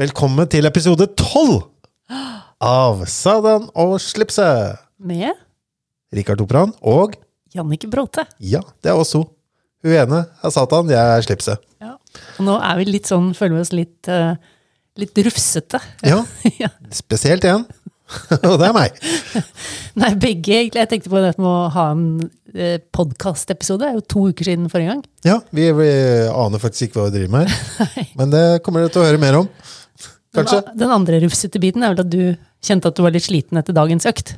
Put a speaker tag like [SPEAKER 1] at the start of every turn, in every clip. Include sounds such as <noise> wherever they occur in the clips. [SPEAKER 1] Velkommen til episode 12 av Sadan og Slipset.
[SPEAKER 2] Med
[SPEAKER 1] Rikard Topran og
[SPEAKER 2] Jannicke Bråte.
[SPEAKER 1] ja, det er oss to. Hun ene er Satan, jeg er Slipset.
[SPEAKER 2] Og nå er vi litt sånn, føler vi oss litt, eh, litt rufsete.
[SPEAKER 1] Ja,
[SPEAKER 2] <laughs> Ja.
[SPEAKER 1] spesielt én. <laughs> og det er meg.
[SPEAKER 2] Nei, begge egentlig. Jeg tenkte på det med å ha en eh, podkastepisode. Det er jo to uker siden forrige gang.
[SPEAKER 1] Ja, vi, vi aner faktisk ikke hva vi driver med, her. men det kommer dere til å høre mer om.
[SPEAKER 2] Den,
[SPEAKER 1] Kanskje.
[SPEAKER 2] a- den andre rufsete biten er vel at du kjente at du var litt sliten etter dagens økt.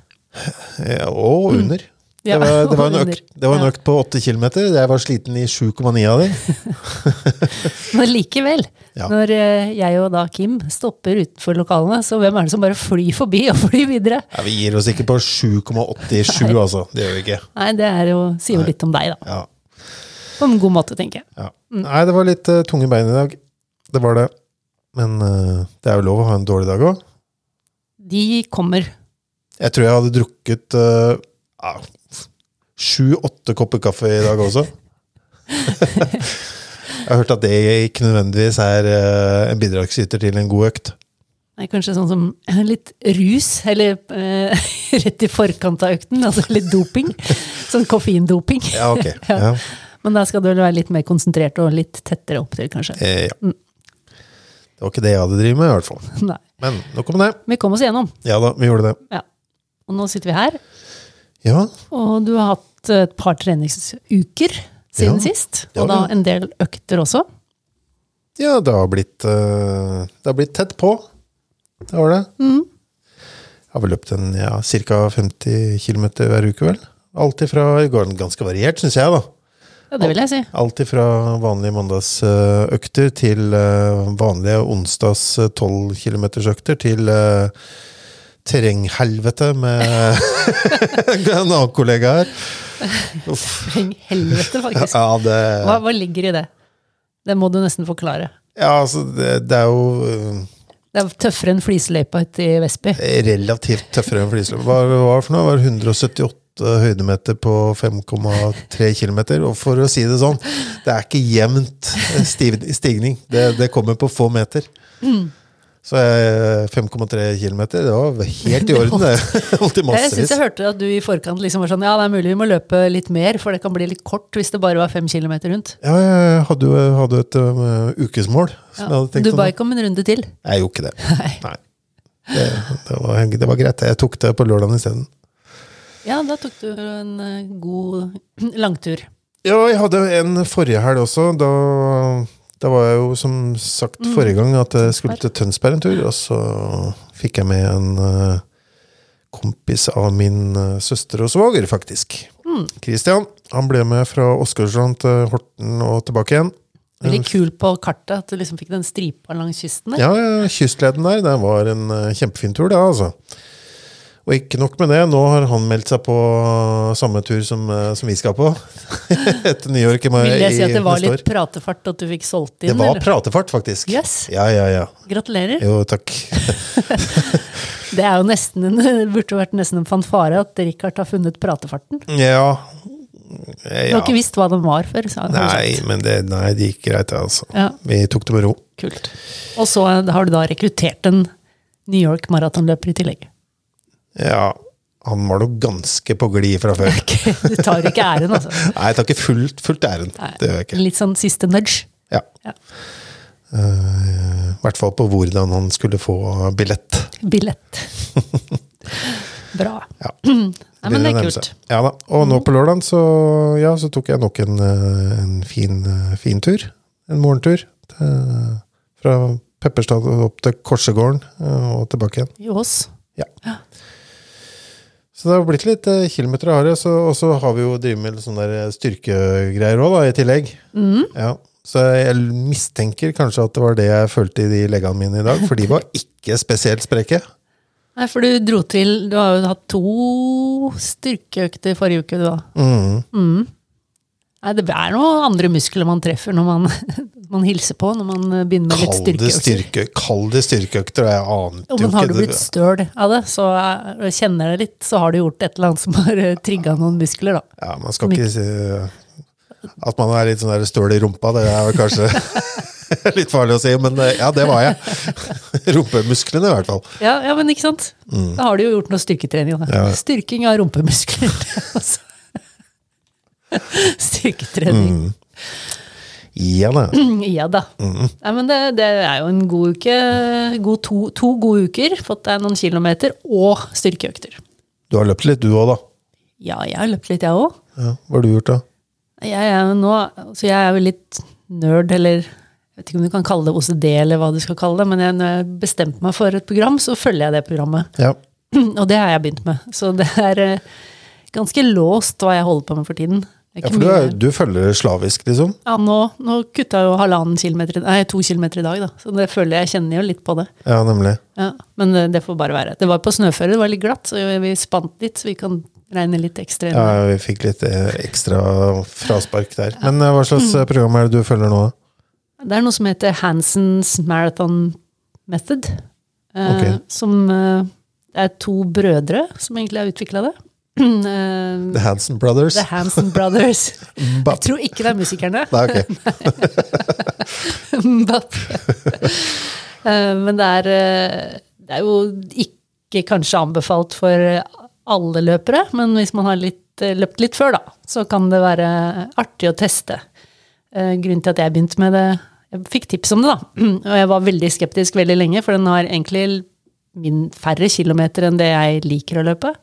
[SPEAKER 1] Ja, og under. Det
[SPEAKER 2] Mm. Ja,
[SPEAKER 1] var, det, var en
[SPEAKER 2] og under.
[SPEAKER 1] økt, det var en
[SPEAKER 2] Ja.
[SPEAKER 1] økt på åtte kilometer. Jeg var sliten i 7,9 av dem.
[SPEAKER 2] Men likevel,
[SPEAKER 1] Ja.
[SPEAKER 2] når eh, jeg og da Kim stopper utenfor lokalene, så hvem er det som bare flyr forbi og flyr videre?
[SPEAKER 1] Ja, vi gir oss ikke på 7,87, altså. Det gjør vi ikke.
[SPEAKER 2] Nei, det er jo, sier jo litt om deg, da.
[SPEAKER 1] Ja.
[SPEAKER 2] På en god måte, tenker jeg.
[SPEAKER 1] Ja. Nei, det var litt eh, tunge bein i dag. Det var det. Men eh, det er jo lov å ha en dårlig dag òg.
[SPEAKER 2] De kommer.
[SPEAKER 1] Jeg tror jeg hadde drukket eh, ja, sju-åtte kopper kaffe i dag også. <laughs> jeg har hørt at det ikke nødvendigvis er eh, en bidragsyter til en god økt.
[SPEAKER 2] Nei, kanskje sånn som <laughs> litt rus, eller eh, <laughs> rett i forkant av økten. Altså litt doping.
[SPEAKER 1] <laughs>
[SPEAKER 2] Sånn koffeindoping.
[SPEAKER 1] Ja, ok.
[SPEAKER 2] Ja.
[SPEAKER 1] Ja.
[SPEAKER 2] Men da skal du vel være litt mer konsentrert og litt tettere opp til, kanskje.
[SPEAKER 1] Eh, ja. Det var ikke det jeg hadde drevet med, i hvert fall.
[SPEAKER 2] Nei.
[SPEAKER 1] Men nok om det.
[SPEAKER 2] Vi kom oss gjennom.
[SPEAKER 1] Ja da, vi gjorde det.
[SPEAKER 2] Ja. Og nå sitter vi her,
[SPEAKER 1] Ja,
[SPEAKER 2] og du har hatt et par treningsuker siden
[SPEAKER 1] Ja.
[SPEAKER 2] sist.
[SPEAKER 1] Ja,
[SPEAKER 2] Og da
[SPEAKER 1] ja.
[SPEAKER 2] en del økter også.
[SPEAKER 1] ja det, har blitt, eh, det har blitt tett på. Det var det.
[SPEAKER 2] Mm.
[SPEAKER 1] Jeg har vel løpt en ja, ca. 50 km hver uke, vel. Alt ifra i går ganske variert, syns jeg, da.
[SPEAKER 2] Ja, det vil jeg si.
[SPEAKER 1] Alt ifra vanlige mandagsøkter til eh, vanlige onsdags eh, 12 km-økter til eh, terrenghelvete med <laughs> en annen kollega her. Uff.
[SPEAKER 2] <laughs> Helvete,
[SPEAKER 1] <laughs>
[SPEAKER 2] faktisk.
[SPEAKER 1] Ja, det,
[SPEAKER 2] Hva, hva ligger i det? Det må du nesten forklare.
[SPEAKER 1] ja, altså, det, det er jo eh,
[SPEAKER 2] Det er tøffere enn flisløypa ute i Vestby.
[SPEAKER 1] relativt tøffere enn flisløp. Hva hva var det for noe? Det var 178 høydemeter på 5,3 km. Og for å si det sånn, det er ikke jevnt stiv- stigning. Det, det kommer på få meter.
[SPEAKER 2] Mm.
[SPEAKER 1] Så eh, 5,3 km, det var helt i orden,
[SPEAKER 2] <laughs>
[SPEAKER 1] det. Holdt i
[SPEAKER 2] Jeg syns
[SPEAKER 1] massevis.
[SPEAKER 2] jeg hørte at du i forkant liksom var sånn ja, det er mulig vi må løpe litt mer, for det kan bli litt kort hvis det bare var fem kilometer rundt.
[SPEAKER 1] Ja, jeg hadde jo hadde jo et eh, ukesmål. Som
[SPEAKER 2] Ja.
[SPEAKER 1] jeg hadde tenkt
[SPEAKER 2] Du ba
[SPEAKER 1] sånn.
[SPEAKER 2] ikke om en runde til.
[SPEAKER 1] Jeg gjorde ikke det.
[SPEAKER 2] <laughs>
[SPEAKER 1] Nei. Det, det, var, det var greit. Jeg tok det på lørdagen isteden.
[SPEAKER 2] Ja, da tok du en eh, god <clears throat> langtur.
[SPEAKER 1] Ja, jeg hadde en forrige helg også. Da, da var jeg jo som sagt
[SPEAKER 2] Mm.
[SPEAKER 1] forrige gang at jeg skulle til Tønsberg en tur, og så fikk jeg med en eh, kompis av min eh, søster og svoger, faktisk.
[SPEAKER 2] Mm.
[SPEAKER 1] Kristian. Han ble med fra Åsgårdstrand til Horten og tilbake igjen.
[SPEAKER 2] Veldig kul på kartet at du liksom fikk den stripa langs kysten der.
[SPEAKER 1] Ja, ja, kystleden der, det var en eh, kjempefin tur, det, altså. Og ikke nok med det, nå har han meldt seg på samme tur som, eh, som vi skal på. <laughs> Etter New York i mai
[SPEAKER 2] Vil jeg si
[SPEAKER 1] i
[SPEAKER 2] at det var
[SPEAKER 1] neste år.
[SPEAKER 2] litt pratefart at du fikk solgt
[SPEAKER 1] Det
[SPEAKER 2] inn?
[SPEAKER 1] var
[SPEAKER 2] eller?
[SPEAKER 1] pratefart, faktisk.
[SPEAKER 2] Yes.
[SPEAKER 1] Ja, ja, ja.
[SPEAKER 2] Gratulerer.
[SPEAKER 1] Jo, takk.
[SPEAKER 2] Det er jo nesten en, <laughs> det burde jo vært nesten en fanfare at Richard har funnet pratefarten.
[SPEAKER 1] Ja.
[SPEAKER 2] Du har
[SPEAKER 1] ja.
[SPEAKER 2] ikke visst hva den var før. sa- har du
[SPEAKER 1] Nei,
[SPEAKER 2] sagt.
[SPEAKER 1] men det, nei, det gikk greit, det, altså.
[SPEAKER 2] Ja,
[SPEAKER 1] Vi tok det med ro.
[SPEAKER 2] kult. Og så har du da rekruttert en New York-maratonløper i tillegg.
[SPEAKER 1] Ja. Han var nå ganske på glid fra før.
[SPEAKER 2] <laughs> Du tar ikke æren, altså.
[SPEAKER 1] Nei, jeg tar ikke fullt, fullt æren.
[SPEAKER 2] Nei.
[SPEAKER 1] Det gjør jeg ikke.
[SPEAKER 2] Litt sånn siste nudge.
[SPEAKER 1] Ja.
[SPEAKER 2] Ja.
[SPEAKER 1] Eh, I hvert fall på hvordan han skulle få billett.
[SPEAKER 2] Billett. Bra.
[SPEAKER 1] Ja.
[SPEAKER 2] <clears throat> Nei, men det
[SPEAKER 1] Begynner å
[SPEAKER 2] er
[SPEAKER 1] nærme seg.
[SPEAKER 2] kult. Mm.
[SPEAKER 1] Ja da. Og nå på lørdag så, ja, så tok jeg nok en, eh, en fin, eh, fin tur. En morgentur. eh, Fra Pepperstad og opp til Korsegården eh, og tilbake igjen.
[SPEAKER 2] I Ås.
[SPEAKER 1] Så det har blitt litt eh, kilometer av det. så- Og så har vi jo drevet med litt sånne der eh, styrkegreier òg, i tillegg.
[SPEAKER 2] Mhm.
[SPEAKER 1] Ja. Så jeg mistenker kanskje at det var det jeg følte i de leggene mine i dag, for de
[SPEAKER 2] <laughs>
[SPEAKER 1] var ikke spesielt spreke.
[SPEAKER 2] Nei, for du dro til Du har jo hatt to styrkeøkter forrige uke, du da.
[SPEAKER 1] Mhm.
[SPEAKER 2] Mm. Nei, det er noen andre muskler man treffer når man, <laughs> man hilser på, når man begynner med litt
[SPEAKER 1] Kall det
[SPEAKER 2] styrkeøkter.
[SPEAKER 1] styrke, kall det styrkeøkter, og jeg ante jo
[SPEAKER 2] Jo, men
[SPEAKER 1] ikke
[SPEAKER 2] har du
[SPEAKER 1] det-
[SPEAKER 2] blitt støl av det, så eh, kjenner jeg det litt, så har du gjort et eller annet som har trigga noen muskler, da.
[SPEAKER 1] Ja, man skal ikke si At man er litt sånn der støl i rumpa, det er vel kanskje <laughs> litt farlig å si, men eh, ja, det var jeg. <laughs> Rumpemusklene, i hvert fall.
[SPEAKER 2] Ja, ja men ikke sant? Da har du jo gjort noe styrketrening. Da.
[SPEAKER 1] Ja.
[SPEAKER 2] Styrking av rumpemuskler. <laughs> altså. Styrketrening.
[SPEAKER 1] Ja da.
[SPEAKER 2] <clears throat> Ja da. Nei, men det, det er jo en god uke. God to, to gode uker. Fått deg noen kilometer og styrkeøkter.
[SPEAKER 1] Du har løpt litt, du òg, da.
[SPEAKER 2] Ja, jeg har løpt litt, jeg òg.
[SPEAKER 1] Ja. Hva har du gjort, da?
[SPEAKER 2] Jeg er jo nå Så jeg er jo litt nerd, eller jeg vet ikke om du kan kalle det OCD, eller hva du skal kalle det, men jeg, når jeg bestemte meg for et program, så følger jeg det programmet.
[SPEAKER 1] Ja.
[SPEAKER 2] <clears throat> Og det har jeg begynt med. Så det er eh, ganske låst hva jeg holder på med for tiden. Det
[SPEAKER 1] ja
[SPEAKER 2] er ikke
[SPEAKER 1] for du, er,
[SPEAKER 2] mye-
[SPEAKER 1] du følger slavisk, liksom?
[SPEAKER 2] ja, nå, nå kutta jeg jo halvannen kilometer, i- nei, to kilometer i dag, da. Så det føler jeg, jeg kjenner jo litt på det.
[SPEAKER 1] Ja, nemlig.
[SPEAKER 2] Ja, men eh, det får bare være. Det var på snøføre, det var litt glatt, så vi spant litt, så vi kan regne litt ekstra. inn.
[SPEAKER 1] Ja, vi fikk litt eh, ekstra fraspark der. Men eh, hva slags eh, program er det du følger nå, da?
[SPEAKER 2] Det er noe som heter Hansens Marathon Method. eh,
[SPEAKER 1] Ok.
[SPEAKER 2] Som eh, Det er to brødre som egentlig har utvikla det. <clears throat> Eh,
[SPEAKER 1] The Hansen Brothers?
[SPEAKER 2] The Hansen Brothers.
[SPEAKER 1] Bap.
[SPEAKER 2] Jeg tror ikke det er musikerne.
[SPEAKER 1] Nei,
[SPEAKER 2] <laughs>
[SPEAKER 1] ok.
[SPEAKER 2] Bap. <laughs> Eh, Men det er, eh, det er jo ikke kanskje anbefalt for eh, alle løpere, men hvis man har litt, eh, løpt litt før, da, så kan det være artig å teste. Eh, Grunnen til at jeg begynte med det Jeg fikk tips om det, da. <clears throat> Og jeg var veldig skeptisk veldig lenge, for den har egentlig min færre kilometer enn det jeg liker å løpe.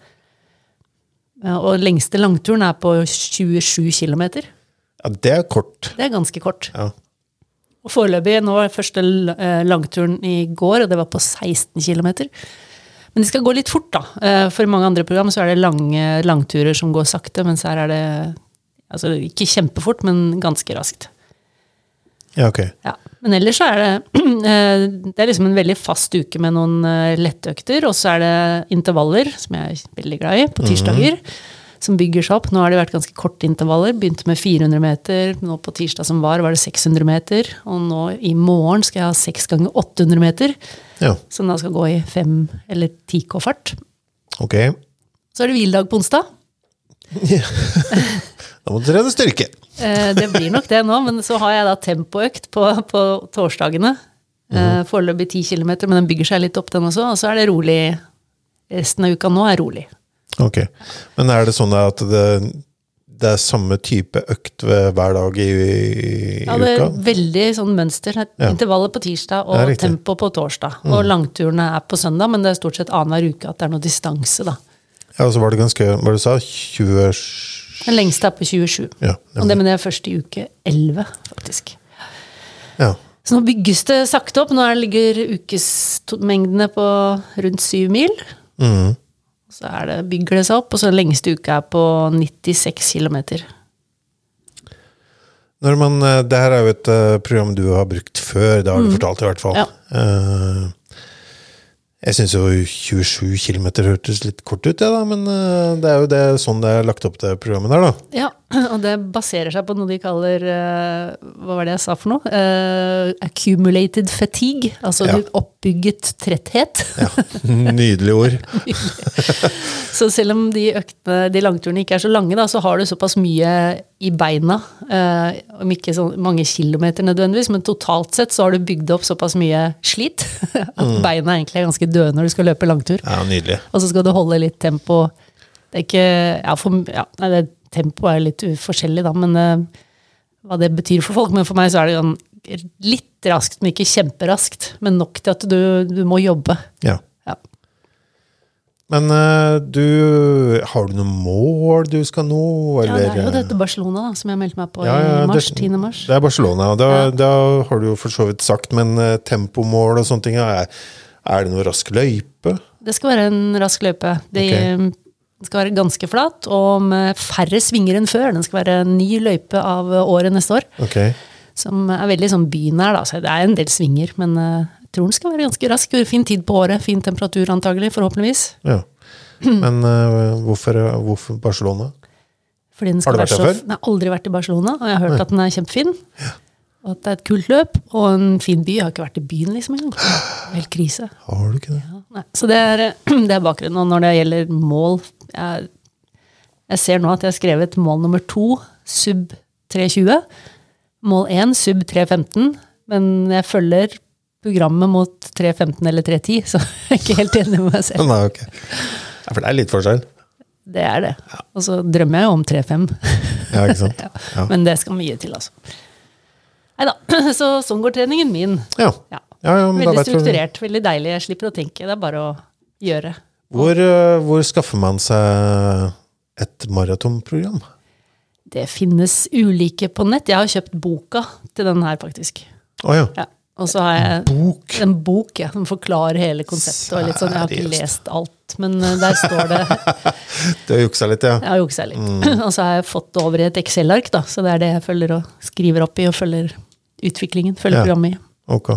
[SPEAKER 2] Eh, Og lengste langturen er på 27 km.
[SPEAKER 1] Ja, det er kort.
[SPEAKER 2] Det er ganske kort.
[SPEAKER 1] Ja.
[SPEAKER 2] Og foreløpig, nå var første l- eh, langturen i går, og det var på 16 km. Men de skal gå litt fort, da. Eh, For i mange andre program så er det lange langturer som går sakte, mens her er det altså ikke kjempefort, men ganske raskt.
[SPEAKER 1] Ja, ok.
[SPEAKER 2] Ja. Men ellers så er det <clears throat> eh, Det er liksom en veldig fast uke med noen eh, lettøkter, og så er det intervaller, som jeg er veldig glad i, på tirsdager. Som bygger seg opp. Nå har det vært ganske korte intervaller. Begynte med 400 meter, nå på tirsdag som var, var det 600 meter. Og nå i morgen skal jeg ha 6 ganger 800 meter,
[SPEAKER 1] Ja,
[SPEAKER 2] som da skal gå i 5 eller 10K-fart.
[SPEAKER 1] ok.
[SPEAKER 2] Så er det hviledag på onsdag.
[SPEAKER 1] Da må du trene styrke.
[SPEAKER 2] Eh, Det blir nok det nå, men så har jeg da tempoøkt på, på torsdagene. Eh,
[SPEAKER 1] Mhm.
[SPEAKER 2] Foreløpig 10 km, men den bygger seg litt opp, den også. Og så er det rolig. Resten av uka nå er rolig.
[SPEAKER 1] Ok. Men er det sånn at det, det er samme type økt ved hver dag i, i, i
[SPEAKER 2] Ja, det er
[SPEAKER 1] uka?
[SPEAKER 2] veldig sånn mønster. Det er
[SPEAKER 1] Ja.
[SPEAKER 2] Intervallet på tirsdag
[SPEAKER 1] Det er
[SPEAKER 2] og
[SPEAKER 1] riktig. Mhm.
[SPEAKER 2] tempo på torsdag. Og langturene er på søndag, men det er stort sett annenhver uke at det er noe distanse, da.
[SPEAKER 1] Ja, og så var det ganske Hva du sa du? 27
[SPEAKER 2] Den lengste er på 27.
[SPEAKER 1] Ja.
[SPEAKER 2] Og det mener jeg er først i uke 11, faktisk.
[SPEAKER 1] ja.
[SPEAKER 2] Så nå bygges det sakte opp. Nå er- ligger ukesmengdene på rundt syv mil.
[SPEAKER 1] Mhm.
[SPEAKER 2] Så er det, bygger det seg opp, og så lengste uka er på 96 km.
[SPEAKER 1] Når man, eh, det her er jo et eh, program du har brukt før, det har du fortalt i hvert fall.
[SPEAKER 2] Mm. Ja.
[SPEAKER 1] Eh, jeg syns jo 27 km hørtes litt kort ut, ja, da, men eh, det er jo det, sånn det er lagt opp det programmet der, da.
[SPEAKER 2] Ja, <clears throat> og det baserer seg på noe de kaller eh, Hva var det jeg sa for noe? Eh, accumulated fatigue, altså
[SPEAKER 1] Ja.
[SPEAKER 2] oppbygget tretthet.
[SPEAKER 1] <laughs>
[SPEAKER 2] <laughs>
[SPEAKER 1] Nydelige ord.
[SPEAKER 2] Så selv om de, øktene, de langturene ikke er så lange, da, så har du såpass mye i beina. eh, om ikke så mange kilometer nødvendigvis, men totalt sett så har du bygd opp såpass mye slit <laughs> at beina egentlig er ganske døde når du skal løpe langtur.
[SPEAKER 1] Ja, nydelig.
[SPEAKER 2] Og så skal du holde litt tempo. Det er ikke Ja, for, ja nei, det, tempo er jo litt forskjellig, da, men eh, hva det betyr for folk. Men for meg så er det sånn litt raskt, men ikke kjemperaskt. Men nok til at du, du må jobbe.
[SPEAKER 1] Ja.
[SPEAKER 2] Ja.
[SPEAKER 1] Men eh, du Har du noen mål du skal nå,
[SPEAKER 2] ja,
[SPEAKER 1] eller eh,
[SPEAKER 2] det er jo dette Barcelona da, som jeg meldte meg på
[SPEAKER 1] Ja, ja,
[SPEAKER 2] i mars.
[SPEAKER 1] det-
[SPEAKER 2] 10. mars.
[SPEAKER 1] Det er Barcelona, og da, da har du jo for så vidt sagt, men eh, tempomål og sånne ting, er, er det noe rask løype?
[SPEAKER 2] Det skal være en rask løype. Det
[SPEAKER 1] Ok.
[SPEAKER 2] den skal være ganske flat og med færre svinger enn før. Den skal være en ny løype av året neste år,
[SPEAKER 1] Ok.
[SPEAKER 2] som er veldig sånn bynær. Da. Så det er en del svinger, men eh, jeg tror den skal være ganske rask. Fin tid på året, fin temperatur antagelig, forhåpentligvis. <clears throat>
[SPEAKER 1] Ja. Men eh, hvorfor, hvorfor Barcelona?
[SPEAKER 2] Fordi den
[SPEAKER 1] Har
[SPEAKER 2] skal
[SPEAKER 1] du vært der
[SPEAKER 2] være så-
[SPEAKER 1] før?
[SPEAKER 2] Nei, aldri vært i Barcelona, og jeg har hørt at den er kjempefin. Og at det er et kult løp, og en fin by. Jeg har ikke vært i byen liksom engang. Helt krise.
[SPEAKER 1] Har du ikke det?
[SPEAKER 2] Ja, nei. Så det er, <clears throat> det er bakgrunnen. Og når det gjelder mål jeg, jeg ser nå at jeg har skrevet mål nummer to, sub 3.20. Mål 1 sub 3.15, men jeg følger programmet mot 3.15 eller 3.10, <laughs> så jeg er ikke helt enig med meg selv.
[SPEAKER 1] Nei, ok. Ja, for det er litt forskjell.
[SPEAKER 2] Det er det. Og så drømmer jeg jo om 3.5.
[SPEAKER 1] Ja, ikke sant?
[SPEAKER 2] <laughs> Ja.
[SPEAKER 1] Ja.
[SPEAKER 2] Men det skal mye til, altså. Nei da. <clears throat> Så sånn går treningen min.
[SPEAKER 1] Ja.
[SPEAKER 2] Ja.
[SPEAKER 1] Ja, ja, men da
[SPEAKER 2] Veldig
[SPEAKER 1] vet vi-
[SPEAKER 2] strukturert, veldig deilig. Jeg slipper å tenke, det er bare å gjøre.
[SPEAKER 1] Hvor, eh, hvor skaffer man seg et maratonprogram?
[SPEAKER 2] Det finnes ulike på nett. Jeg har kjøpt boka til den her, faktisk.
[SPEAKER 1] Å ja.
[SPEAKER 2] Ja. Og så har jeg
[SPEAKER 1] Bok.
[SPEAKER 2] en bok ja, som forklarer hele konseptet. og litt sånn, Jeg har ikke
[SPEAKER 1] Seriøst?
[SPEAKER 2] lest alt, men eh, der står det
[SPEAKER 1] Du har juksa litt, ja.
[SPEAKER 2] Jeg har juksa litt.
[SPEAKER 1] Mm.
[SPEAKER 2] <clears throat> Og så har jeg fått det over i et Excel-ark, da. Så det er det jeg følger og skriver opp i, og følger utviklingen.
[SPEAKER 1] Ja.
[SPEAKER 2] Følger programmet i.
[SPEAKER 1] Ok.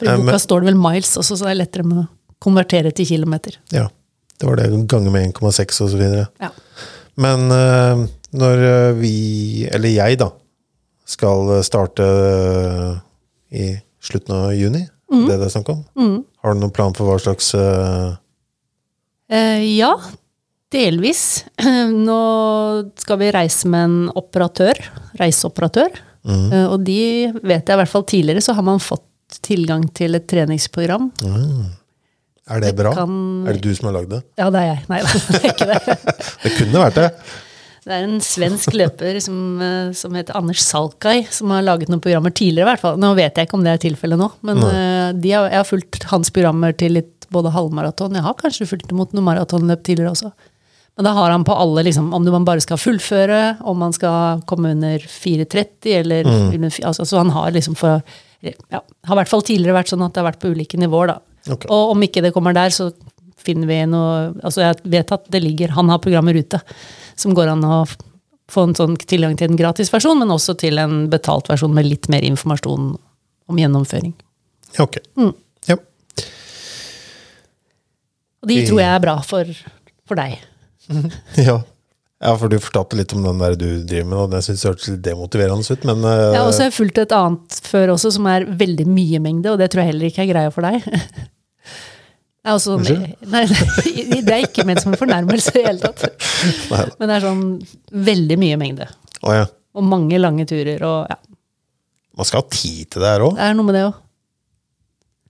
[SPEAKER 2] For
[SPEAKER 1] Eh,
[SPEAKER 2] I boka
[SPEAKER 1] men-
[SPEAKER 2] står det vel miles også, så det er lettere med å konvertere til kilometer.
[SPEAKER 1] Ja. Det var det ganger med 1,6 og så videre.
[SPEAKER 2] Ja.
[SPEAKER 1] Men eh, når eh, vi, eller jeg da, skal eh, starte eh, i slutten av juni,
[SPEAKER 2] Mm.
[SPEAKER 1] det er det snakk om, har du noen plan for hva slags eh,
[SPEAKER 2] Eh, ja, delvis. <clears throat> Nå skal vi reise med en operatør, reiseoperatør. Eh, og de vet jeg i hvert fall tidligere, så har man fått tilgang til et treningsprogram.
[SPEAKER 1] Er det bra?
[SPEAKER 2] kan-
[SPEAKER 1] Er det du som har lagd det?
[SPEAKER 2] Ja, det er jeg. Nei, <laughs> det er ikke det.
[SPEAKER 1] Det kunne vært det.
[SPEAKER 2] Det er en svensk løper som, eh, som heter Anders Salkai, som har laget noen programmer tidligere. i hvert fall. Nå vet jeg ikke om det er tilfellet nå, men eh, de har, jeg har fulgt hans programmer til litt både halvmaraton Jeg har kanskje fulgt mot noen maratonløp tidligere også. Men da har han på alle, liksom, om man bare skal fullføre, om man skal komme under 4,30 eller under, fi- altså, Så han har liksom for ja, Har i hvert fall tidligere vært sånn at det har vært på ulike nivåer, da.
[SPEAKER 1] Ok.
[SPEAKER 2] Og om ikke det kommer der, så finner vi noe Altså, jeg vet at det ligger Han har programmer ute som går an å f- få en sånn tilgang til en gratis versjon, men også til en betalt versjon med litt mer informasjon om gjennomføring.
[SPEAKER 1] Ja, ok.
[SPEAKER 2] Mm.
[SPEAKER 1] Ja. <laughs>
[SPEAKER 2] Og de tror jeg er bra for, for deg.
[SPEAKER 1] ja. Ja, for du fortalte litt om den der du driver med, og den synes jeg hørtes litt demotiverende ut, men eh,
[SPEAKER 2] Jeg har også fulgt et annet før også, som er veldig mye mengde, og det tror jeg heller ikke er greia for deg. <laughs> Det er også sånn, <laughs> nei, nei, det er ikke ment som en fornærmelse i det hele tatt. Men det er sånn veldig mye mengde.
[SPEAKER 1] å ja.
[SPEAKER 2] Og mange lange turer. Og ja,
[SPEAKER 1] Man skal ha tid til det her også.
[SPEAKER 2] det er noe med det òg.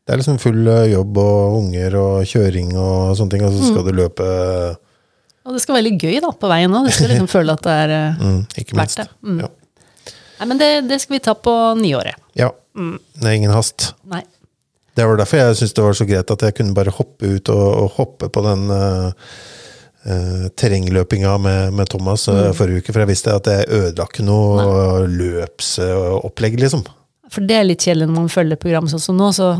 [SPEAKER 1] Det er liksom full eh, jobb og unger og kjøring og sånne ting, og
[SPEAKER 2] Mm.
[SPEAKER 1] så skal du løpe
[SPEAKER 2] Og det skal være litt gøy da, på veien òg. Du skal
[SPEAKER 1] <laughs>
[SPEAKER 2] liksom føle at det er eh,
[SPEAKER 1] mm, ikke
[SPEAKER 2] Verdt
[SPEAKER 1] minst.
[SPEAKER 2] det. Mm.
[SPEAKER 1] Ja.
[SPEAKER 2] Nei, men det, det skal vi ta på nyåret.
[SPEAKER 1] Ja.
[SPEAKER 2] Mm.
[SPEAKER 1] Det er ingen hast.
[SPEAKER 2] Nei.
[SPEAKER 1] Det var derfor jeg syntes det var så greit at jeg kunne bare hoppe ut og, og hoppe på den eh, eh, terrengløpinga med, med Thomas
[SPEAKER 2] Mm.
[SPEAKER 1] eh, forrige uke, for jeg visste at jeg ødela ikke noe løpsopplegg, liksom.
[SPEAKER 2] For det er litt kjedelig når man følger program sånn som nå, så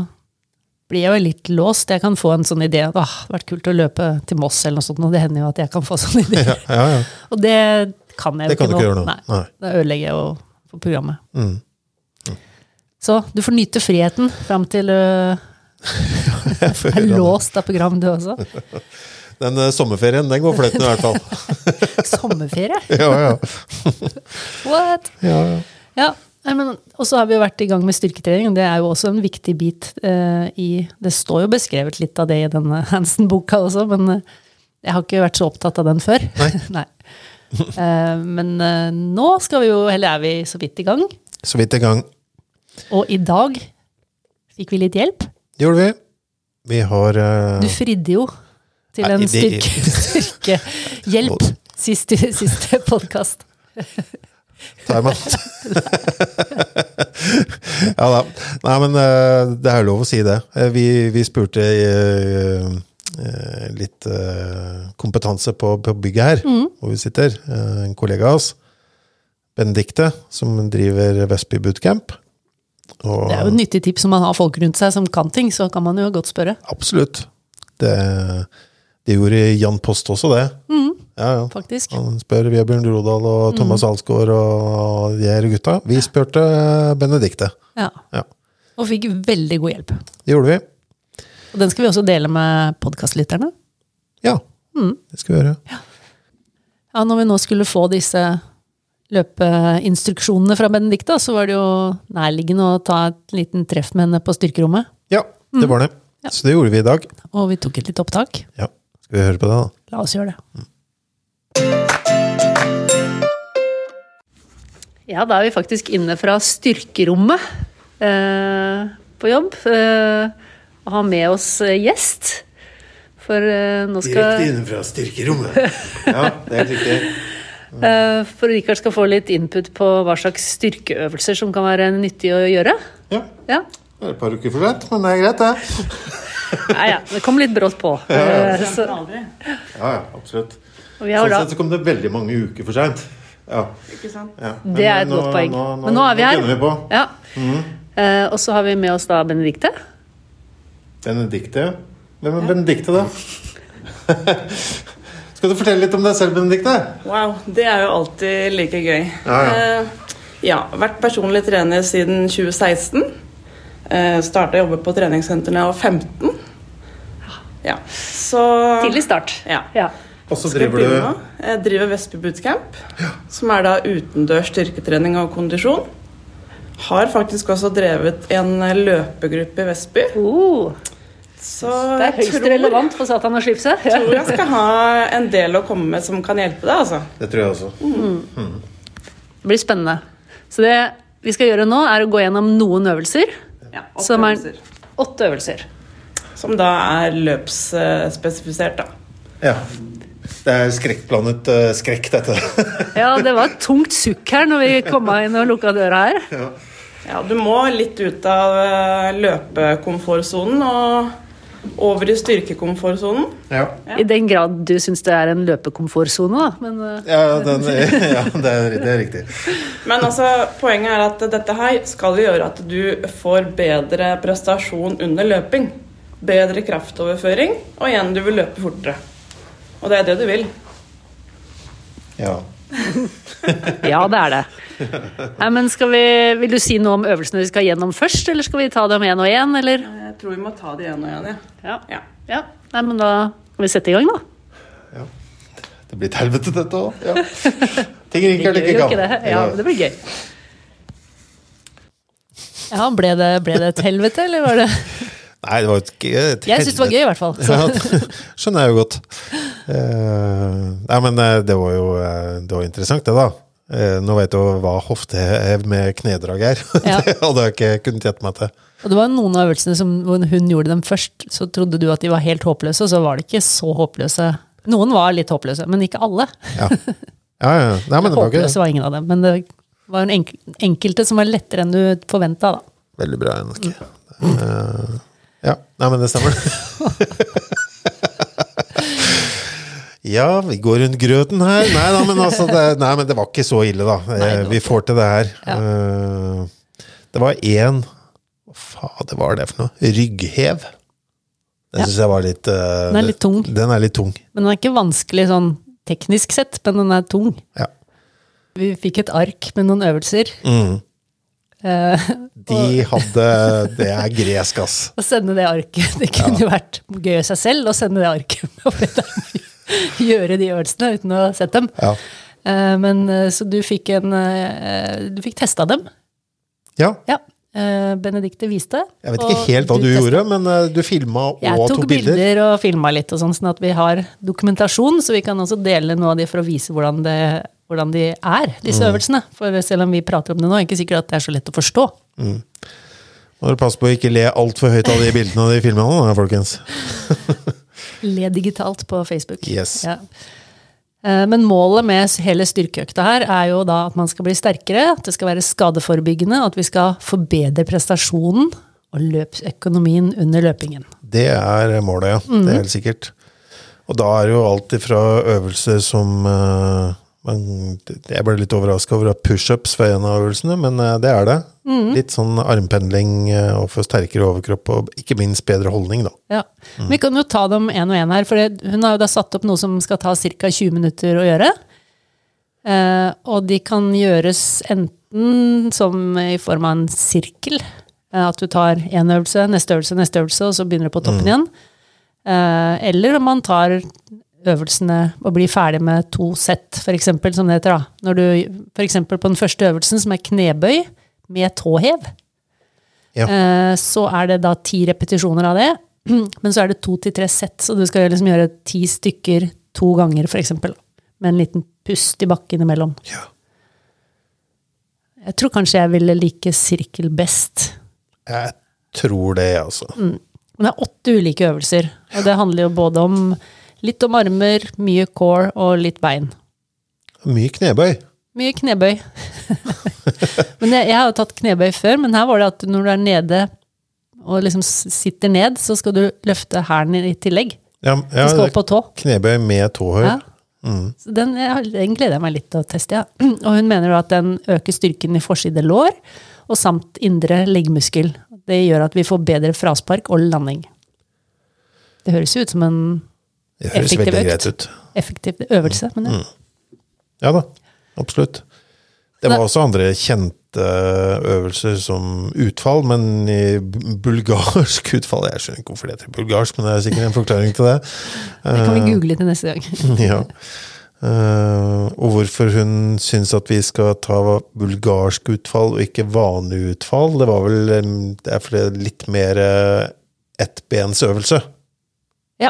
[SPEAKER 2] blir jeg jo litt låst. Jeg kan få en sånn idé at det har vært kult å løpe til Moss eller noe sånt, og det hender jo at jeg kan få <laughs> sånn idé.
[SPEAKER 1] Ja, ja, ja.
[SPEAKER 2] Og det kan jeg
[SPEAKER 1] Det
[SPEAKER 2] jo
[SPEAKER 1] kan du ikke
[SPEAKER 2] ikke nå.
[SPEAKER 1] gjøre nå.
[SPEAKER 2] Nei.
[SPEAKER 1] Nei.
[SPEAKER 2] Da ødelegger jeg jo for programmet.
[SPEAKER 1] Mm.
[SPEAKER 2] <laughs> Så du får nyte friheten fram til
[SPEAKER 1] <laughs>
[SPEAKER 2] øh,
[SPEAKER 1] Jeg får
[SPEAKER 2] er
[SPEAKER 1] høre han.
[SPEAKER 2] låst av program,
[SPEAKER 1] <laughs>
[SPEAKER 2] du også.
[SPEAKER 1] Den eh, sommerferien, den går fløyten i hvert
[SPEAKER 2] <laughs>
[SPEAKER 1] fall.
[SPEAKER 2] Sommerferie?
[SPEAKER 1] ja, ja.
[SPEAKER 2] What?
[SPEAKER 1] ja, ja.
[SPEAKER 2] Ja, nei, men, og så har vi jo vært i gang med styrketrening, og det er jo også en viktig bit eh, i Det står jo beskrevet litt av det i denne <laughs> Hansen-boka også, men eh, jeg har ikke vært så opptatt av den før. <laughs>
[SPEAKER 1] Nei.
[SPEAKER 2] Eh, men eh, nå skal vi jo, eller er vi så vidt i gang,
[SPEAKER 1] Så vidt i gang.
[SPEAKER 2] og i dag fikk vi litt hjelp.
[SPEAKER 1] Det gjorde vi. Vi har eh,
[SPEAKER 2] Du fridde jo til
[SPEAKER 1] Nei,
[SPEAKER 2] en
[SPEAKER 1] det-
[SPEAKER 2] styrke, <laughs> styrkehjelp siste, siste podkast.
[SPEAKER 1] Der, man. <laughs> ja da. Nei, men eh, det er lov å si det. Eh, Vi, vi spurte eh, eh, litt eh, kompetanse på, på bygget her,
[SPEAKER 2] Mm.
[SPEAKER 1] hvor vi sitter. Eh, En kollega av oss, Benedicte, som driver Vestby Bootcamp. Og,
[SPEAKER 2] Det er jo et nyttig tips om man har folk rundt seg som kan ting, så kan man jo godt spørre,
[SPEAKER 1] Absolutt. Det, det gjorde Jan Post også, det.
[SPEAKER 2] Mm.
[SPEAKER 1] Ja, ja.
[SPEAKER 2] faktisk.
[SPEAKER 1] Han spør Vebjørn Rodal og Thomas
[SPEAKER 2] Mm.
[SPEAKER 1] Alsgaard og de her gutta. Vi spurte eh, Benedicte.
[SPEAKER 2] Ja.
[SPEAKER 1] Ja,
[SPEAKER 2] Og fikk veldig god hjelp.
[SPEAKER 1] det gjorde vi.
[SPEAKER 2] Og den skal vi også dele med podkastlytterne.
[SPEAKER 1] Ja,
[SPEAKER 2] Mm.
[SPEAKER 1] det skal vi gjøre.
[SPEAKER 2] Ja, når vi nå skulle få disse løpeinstruksjonene fra Benedicte, så var det jo nærliggende å ta et liten treff med henne på styrkerommet.
[SPEAKER 1] Ja, det
[SPEAKER 2] Mm.
[SPEAKER 1] var det. Så det gjorde vi i dag.
[SPEAKER 2] Og vi tok et lite opptak.
[SPEAKER 1] Ja, skal vi høre på det da?
[SPEAKER 2] La oss gjøre det. Ja, da er vi faktisk inne fra styrkerommet eh, på jobb. Eh, og har med oss eh, gjest. For eh, nå skal
[SPEAKER 1] inne fra styrkerommet. Ja, det er helt riktig.
[SPEAKER 2] eh, For Rikard skal få litt input på hva slags styrkeøvelser som kan være nyttig å gjøre.
[SPEAKER 1] Ja.
[SPEAKER 2] Ja,
[SPEAKER 1] Det er et par uker for sent, men det er greit, det.
[SPEAKER 2] ja, ja det kom litt brått på. Eh, så,
[SPEAKER 3] Aldri,
[SPEAKER 1] Ja, ja, absolutt.
[SPEAKER 2] og vi har
[SPEAKER 1] Sånn
[SPEAKER 2] da,
[SPEAKER 1] sett så kom det veldig mange uker for seint. Ja,
[SPEAKER 3] ikke sant?
[SPEAKER 1] ja.
[SPEAKER 2] det er et
[SPEAKER 1] nå-
[SPEAKER 2] godt poeng.
[SPEAKER 1] Nå, nå,
[SPEAKER 2] Men nå er vi
[SPEAKER 1] kjenner
[SPEAKER 2] her.
[SPEAKER 1] vi på. Mm.
[SPEAKER 2] Ja. Eh, og så har vi med oss da Benedicte.
[SPEAKER 1] Benedikte. Hvem er Benedikte, da? <laughs> Skal du fortelle litt om deg selv, Benedikte?
[SPEAKER 3] Wow, det er jo alltid like gøy.
[SPEAKER 1] Ja, ja.
[SPEAKER 3] Eh, ja, vært personlig trener siden 2016. Uh, Starta å jobbe på treningssenter da jeg var 15. Ja, så
[SPEAKER 2] Tidlig start.
[SPEAKER 3] Ja.
[SPEAKER 2] Ja.
[SPEAKER 1] Og så
[SPEAKER 3] Skal jeg
[SPEAKER 1] driver
[SPEAKER 3] begynne nå?
[SPEAKER 1] du
[SPEAKER 3] Jeg driver Vestby Bootcamp, som er da utendørs styrketrening og kondisjon. Har faktisk også drevet en løpegruppe i Vestby.
[SPEAKER 2] Oh,
[SPEAKER 3] Så
[SPEAKER 2] det er
[SPEAKER 3] jeg
[SPEAKER 2] høyst
[SPEAKER 3] tror,
[SPEAKER 2] relevant for Satan og slipset. Ja.
[SPEAKER 3] tror jeg skal ha en del å komme med som kan hjelpe deg, altså.
[SPEAKER 1] Det tror jeg også.
[SPEAKER 2] <laughs> Det blir spennende. Så det vi skal gjøre nå, er å gå gjennom noen øvelser.
[SPEAKER 3] Ja,
[SPEAKER 2] Som er-
[SPEAKER 3] opplevelser.
[SPEAKER 2] Åtte øvelser.
[SPEAKER 3] Som da er løpsspesifisert, da.
[SPEAKER 1] Ja. Det er skrekkblandet eh, skrekk, dette.
[SPEAKER 2] Ja, det var et tungt sukk her når vi kom inn og lukka døra her.
[SPEAKER 3] Ja, du må litt ut av eh, løpekomfortsonen og over i styrkekomfortsonen.
[SPEAKER 1] ja.
[SPEAKER 2] I den grad du syns det er en løpekomfortsone, da. Men eh,
[SPEAKER 1] Ja, den, <laughs> ja det, er, det er riktig.
[SPEAKER 3] Men altså, poenget er at dette her skal jo gjøre at du får bedre prestasjon under løping. Bedre kraftoverføring, og igjen, du vil løpe fortere. Og det er det du vil.
[SPEAKER 1] Ja.
[SPEAKER 2] ja, det er det. <laughs> Nei, men skal vi, Vil du si noe om øvelsene vi skal gjennom først, eller skal vi ta dem én og én, eller?
[SPEAKER 3] Jeg tror vi må ta det igjen og igjen,
[SPEAKER 2] Ja.
[SPEAKER 3] ja. ja.
[SPEAKER 2] ja. Nei, men da skal vi sette i gang, da.
[SPEAKER 1] Det blir et helvete, dette òg. Ja.
[SPEAKER 2] <laughs>
[SPEAKER 1] Ting ikke er
[SPEAKER 2] Vi
[SPEAKER 1] like
[SPEAKER 2] gjør jo
[SPEAKER 1] gammel.
[SPEAKER 2] ikke det. Ja, det blir gøy. Ja, ble det, ble det et helvete, eller var det
[SPEAKER 1] Nei, det var et, g- et
[SPEAKER 2] Jeg syns det var gøy, altså. i hvert fall. Så.
[SPEAKER 1] <laughs> Ja, det skjønner jeg jo godt. Eh, nei, men eh, det var jo eh, det var interessant, det, da. Eh, nå vet du hva hoftehev med knedrag er. <laughs>
[SPEAKER 2] Ja.
[SPEAKER 1] det hadde jeg ikke kunnet gjette meg til.
[SPEAKER 2] Og det var noen av øvelsene som hvor hun gjorde dem først, så trodde du at de var helt håpløse, og så var de ikke så håpløse. Noen var litt håpløse, men ikke alle.
[SPEAKER 1] Ja, ja. ja. Nei, men det var ikke
[SPEAKER 2] Håpløse var ingen av dem, men det var en enk enkelte som var lettere enn du forventa, da.
[SPEAKER 1] Veldig bra, Henrik. Eh, ja. Nei, men det
[SPEAKER 2] <laughs>
[SPEAKER 1] stemmer. Ja, vi går rundt grøten her. Nei da, men altså det, Nei, men det var ikke så ille, da. Eh,
[SPEAKER 2] Nei, det var
[SPEAKER 1] vi får til det her.
[SPEAKER 2] Ja.
[SPEAKER 1] Eh, det var én Hva faen det var det for noe? Rygghev. Den
[SPEAKER 2] Ja.
[SPEAKER 1] syns jeg var litt eh,
[SPEAKER 2] Den er litt tung.
[SPEAKER 1] Den er litt tung.
[SPEAKER 2] Men den er ikke vanskelig sånn teknisk sett, men den er tung.
[SPEAKER 1] Ja.
[SPEAKER 2] Vi fikk et ark med noen øvelser.
[SPEAKER 1] Mm.
[SPEAKER 2] Eh,
[SPEAKER 1] De hadde Det er gresk, ass.
[SPEAKER 2] <laughs> å sende det arket <laughs> Det kunne jo vært gøy i seg selv å sende det arket <laughs> med over der. <laughs> Gjøre de øvelsene uten å ha sett dem.
[SPEAKER 1] Ja.
[SPEAKER 2] Eh, Men eh, så du fikk en eh, Du fikk testa dem.
[SPEAKER 1] ja.
[SPEAKER 2] Ja. Eh, Benedicte viste.
[SPEAKER 1] Jeg vet
[SPEAKER 2] og
[SPEAKER 1] ikke helt hva du
[SPEAKER 2] testet.
[SPEAKER 1] gjorde, men eh, du filma og
[SPEAKER 2] Jeg tok
[SPEAKER 1] tok
[SPEAKER 2] bilder.
[SPEAKER 1] bilder.
[SPEAKER 2] og filma litt, og sånn, sånn at vi har dokumentasjon. Så vi kan også dele noe av de for å vise hvordan, det, hvordan de er, disse
[SPEAKER 1] Mm.
[SPEAKER 2] øvelsene. For selv om vi prater om det nå, er det ikke sikkert at det er så lett å forstå.
[SPEAKER 1] Må dere passe på å ikke le altfor høyt av de bildene og de filmene, da, folkens.
[SPEAKER 2] Le digitalt på Facebook.
[SPEAKER 1] Yes.
[SPEAKER 2] Ja. Eh, Men målet med s- hele styrkeøkta her er jo da at man skal bli sterkere, at det skal være skadeforebyggende, at vi skal forbedre prestasjonen og løpsøkonomien under løpingen.
[SPEAKER 1] Det er målet, ja. Det
[SPEAKER 2] Mhm.
[SPEAKER 1] er helt sikkert. Og da er det jo alt ifra øvelser som eh, man, Jeg ble litt overraska over at pushups var en av øvelsene, men eh, det er det.
[SPEAKER 2] Mhm.
[SPEAKER 1] Litt sånn armpendling eh, og få sterkere overkropp, og ikke minst bedre holdning, da.
[SPEAKER 2] Ja. Men vi kan jo ta dem én og én her, for det- hun har jo da satt opp noe som skal ta ca. 20 minutter å gjøre. Eh, og de kan gjøres enten som i form av en sirkel, eh, at du tar én øvelse, neste øvelse, neste øvelse, og så begynner du på toppen igjen. Eh, eller om man tar øvelsene og blir ferdig med to sett, f.eks., som det heter. da. Når du f.eks. på den første øvelsen, som er knebøy med tåhev. Eh, Så er det da ti repetisjoner av det, <clears throat> men så er det to til tre sett, så du skal liksom gjøre ti stykker to ganger, for eksempel. Med en liten pust i bakken imellom.
[SPEAKER 1] Ja.
[SPEAKER 2] Jeg tror kanskje jeg ville like sirkel best.
[SPEAKER 1] Jeg tror det, altså.
[SPEAKER 2] Mm. Men det er åtte ulike øvelser, og det handler jo både om litt om armer, mye core og litt bein.
[SPEAKER 1] Mye knebøy.
[SPEAKER 2] Mye knebøy. <laughs> men jeg, jeg har jo tatt knebøy før, men her var det at når du er nede og liksom s- sitter ned, så skal du løfte hælen i tillegg.
[SPEAKER 1] Ja,
[SPEAKER 2] Du
[SPEAKER 1] ja,
[SPEAKER 2] skal opp på tå.
[SPEAKER 1] knebøy med tåhøy.
[SPEAKER 2] Ja.
[SPEAKER 1] Mm.
[SPEAKER 2] Så den, jeg har- den gleder jeg meg litt til å teste. Ja. <clears throat> Og hun mener da at den øker styrken i forside lår, og samt indre leggmuskel. Det gjør at vi får bedre fraspark og landing. Det høres jo ut som en
[SPEAKER 1] Det høres
[SPEAKER 2] Effektiv
[SPEAKER 1] veldig
[SPEAKER 2] økt.
[SPEAKER 1] greit ut.
[SPEAKER 2] effektiv øvelse, men
[SPEAKER 1] Mm.
[SPEAKER 2] ja.
[SPEAKER 1] Ja da, absolutt. Det
[SPEAKER 2] Nei.
[SPEAKER 1] var også andre kjente eh, øvelser som utfall, men i bu- bulgarsk utfall Jeg skjønner ikke hvorfor det heter bulgarsk, men det er sikkert en forklaring til det.
[SPEAKER 2] <laughs> det kan
[SPEAKER 1] Mm.
[SPEAKER 2] vi google til neste gang.
[SPEAKER 1] <laughs> Ja. Eh, og hvorfor hun syns at vi skal ta bulgarsk utfall og ikke vanlig utfall, det var vel eh, det er fordi det er litt mer eh, ettbensøvelse,
[SPEAKER 2] Ja.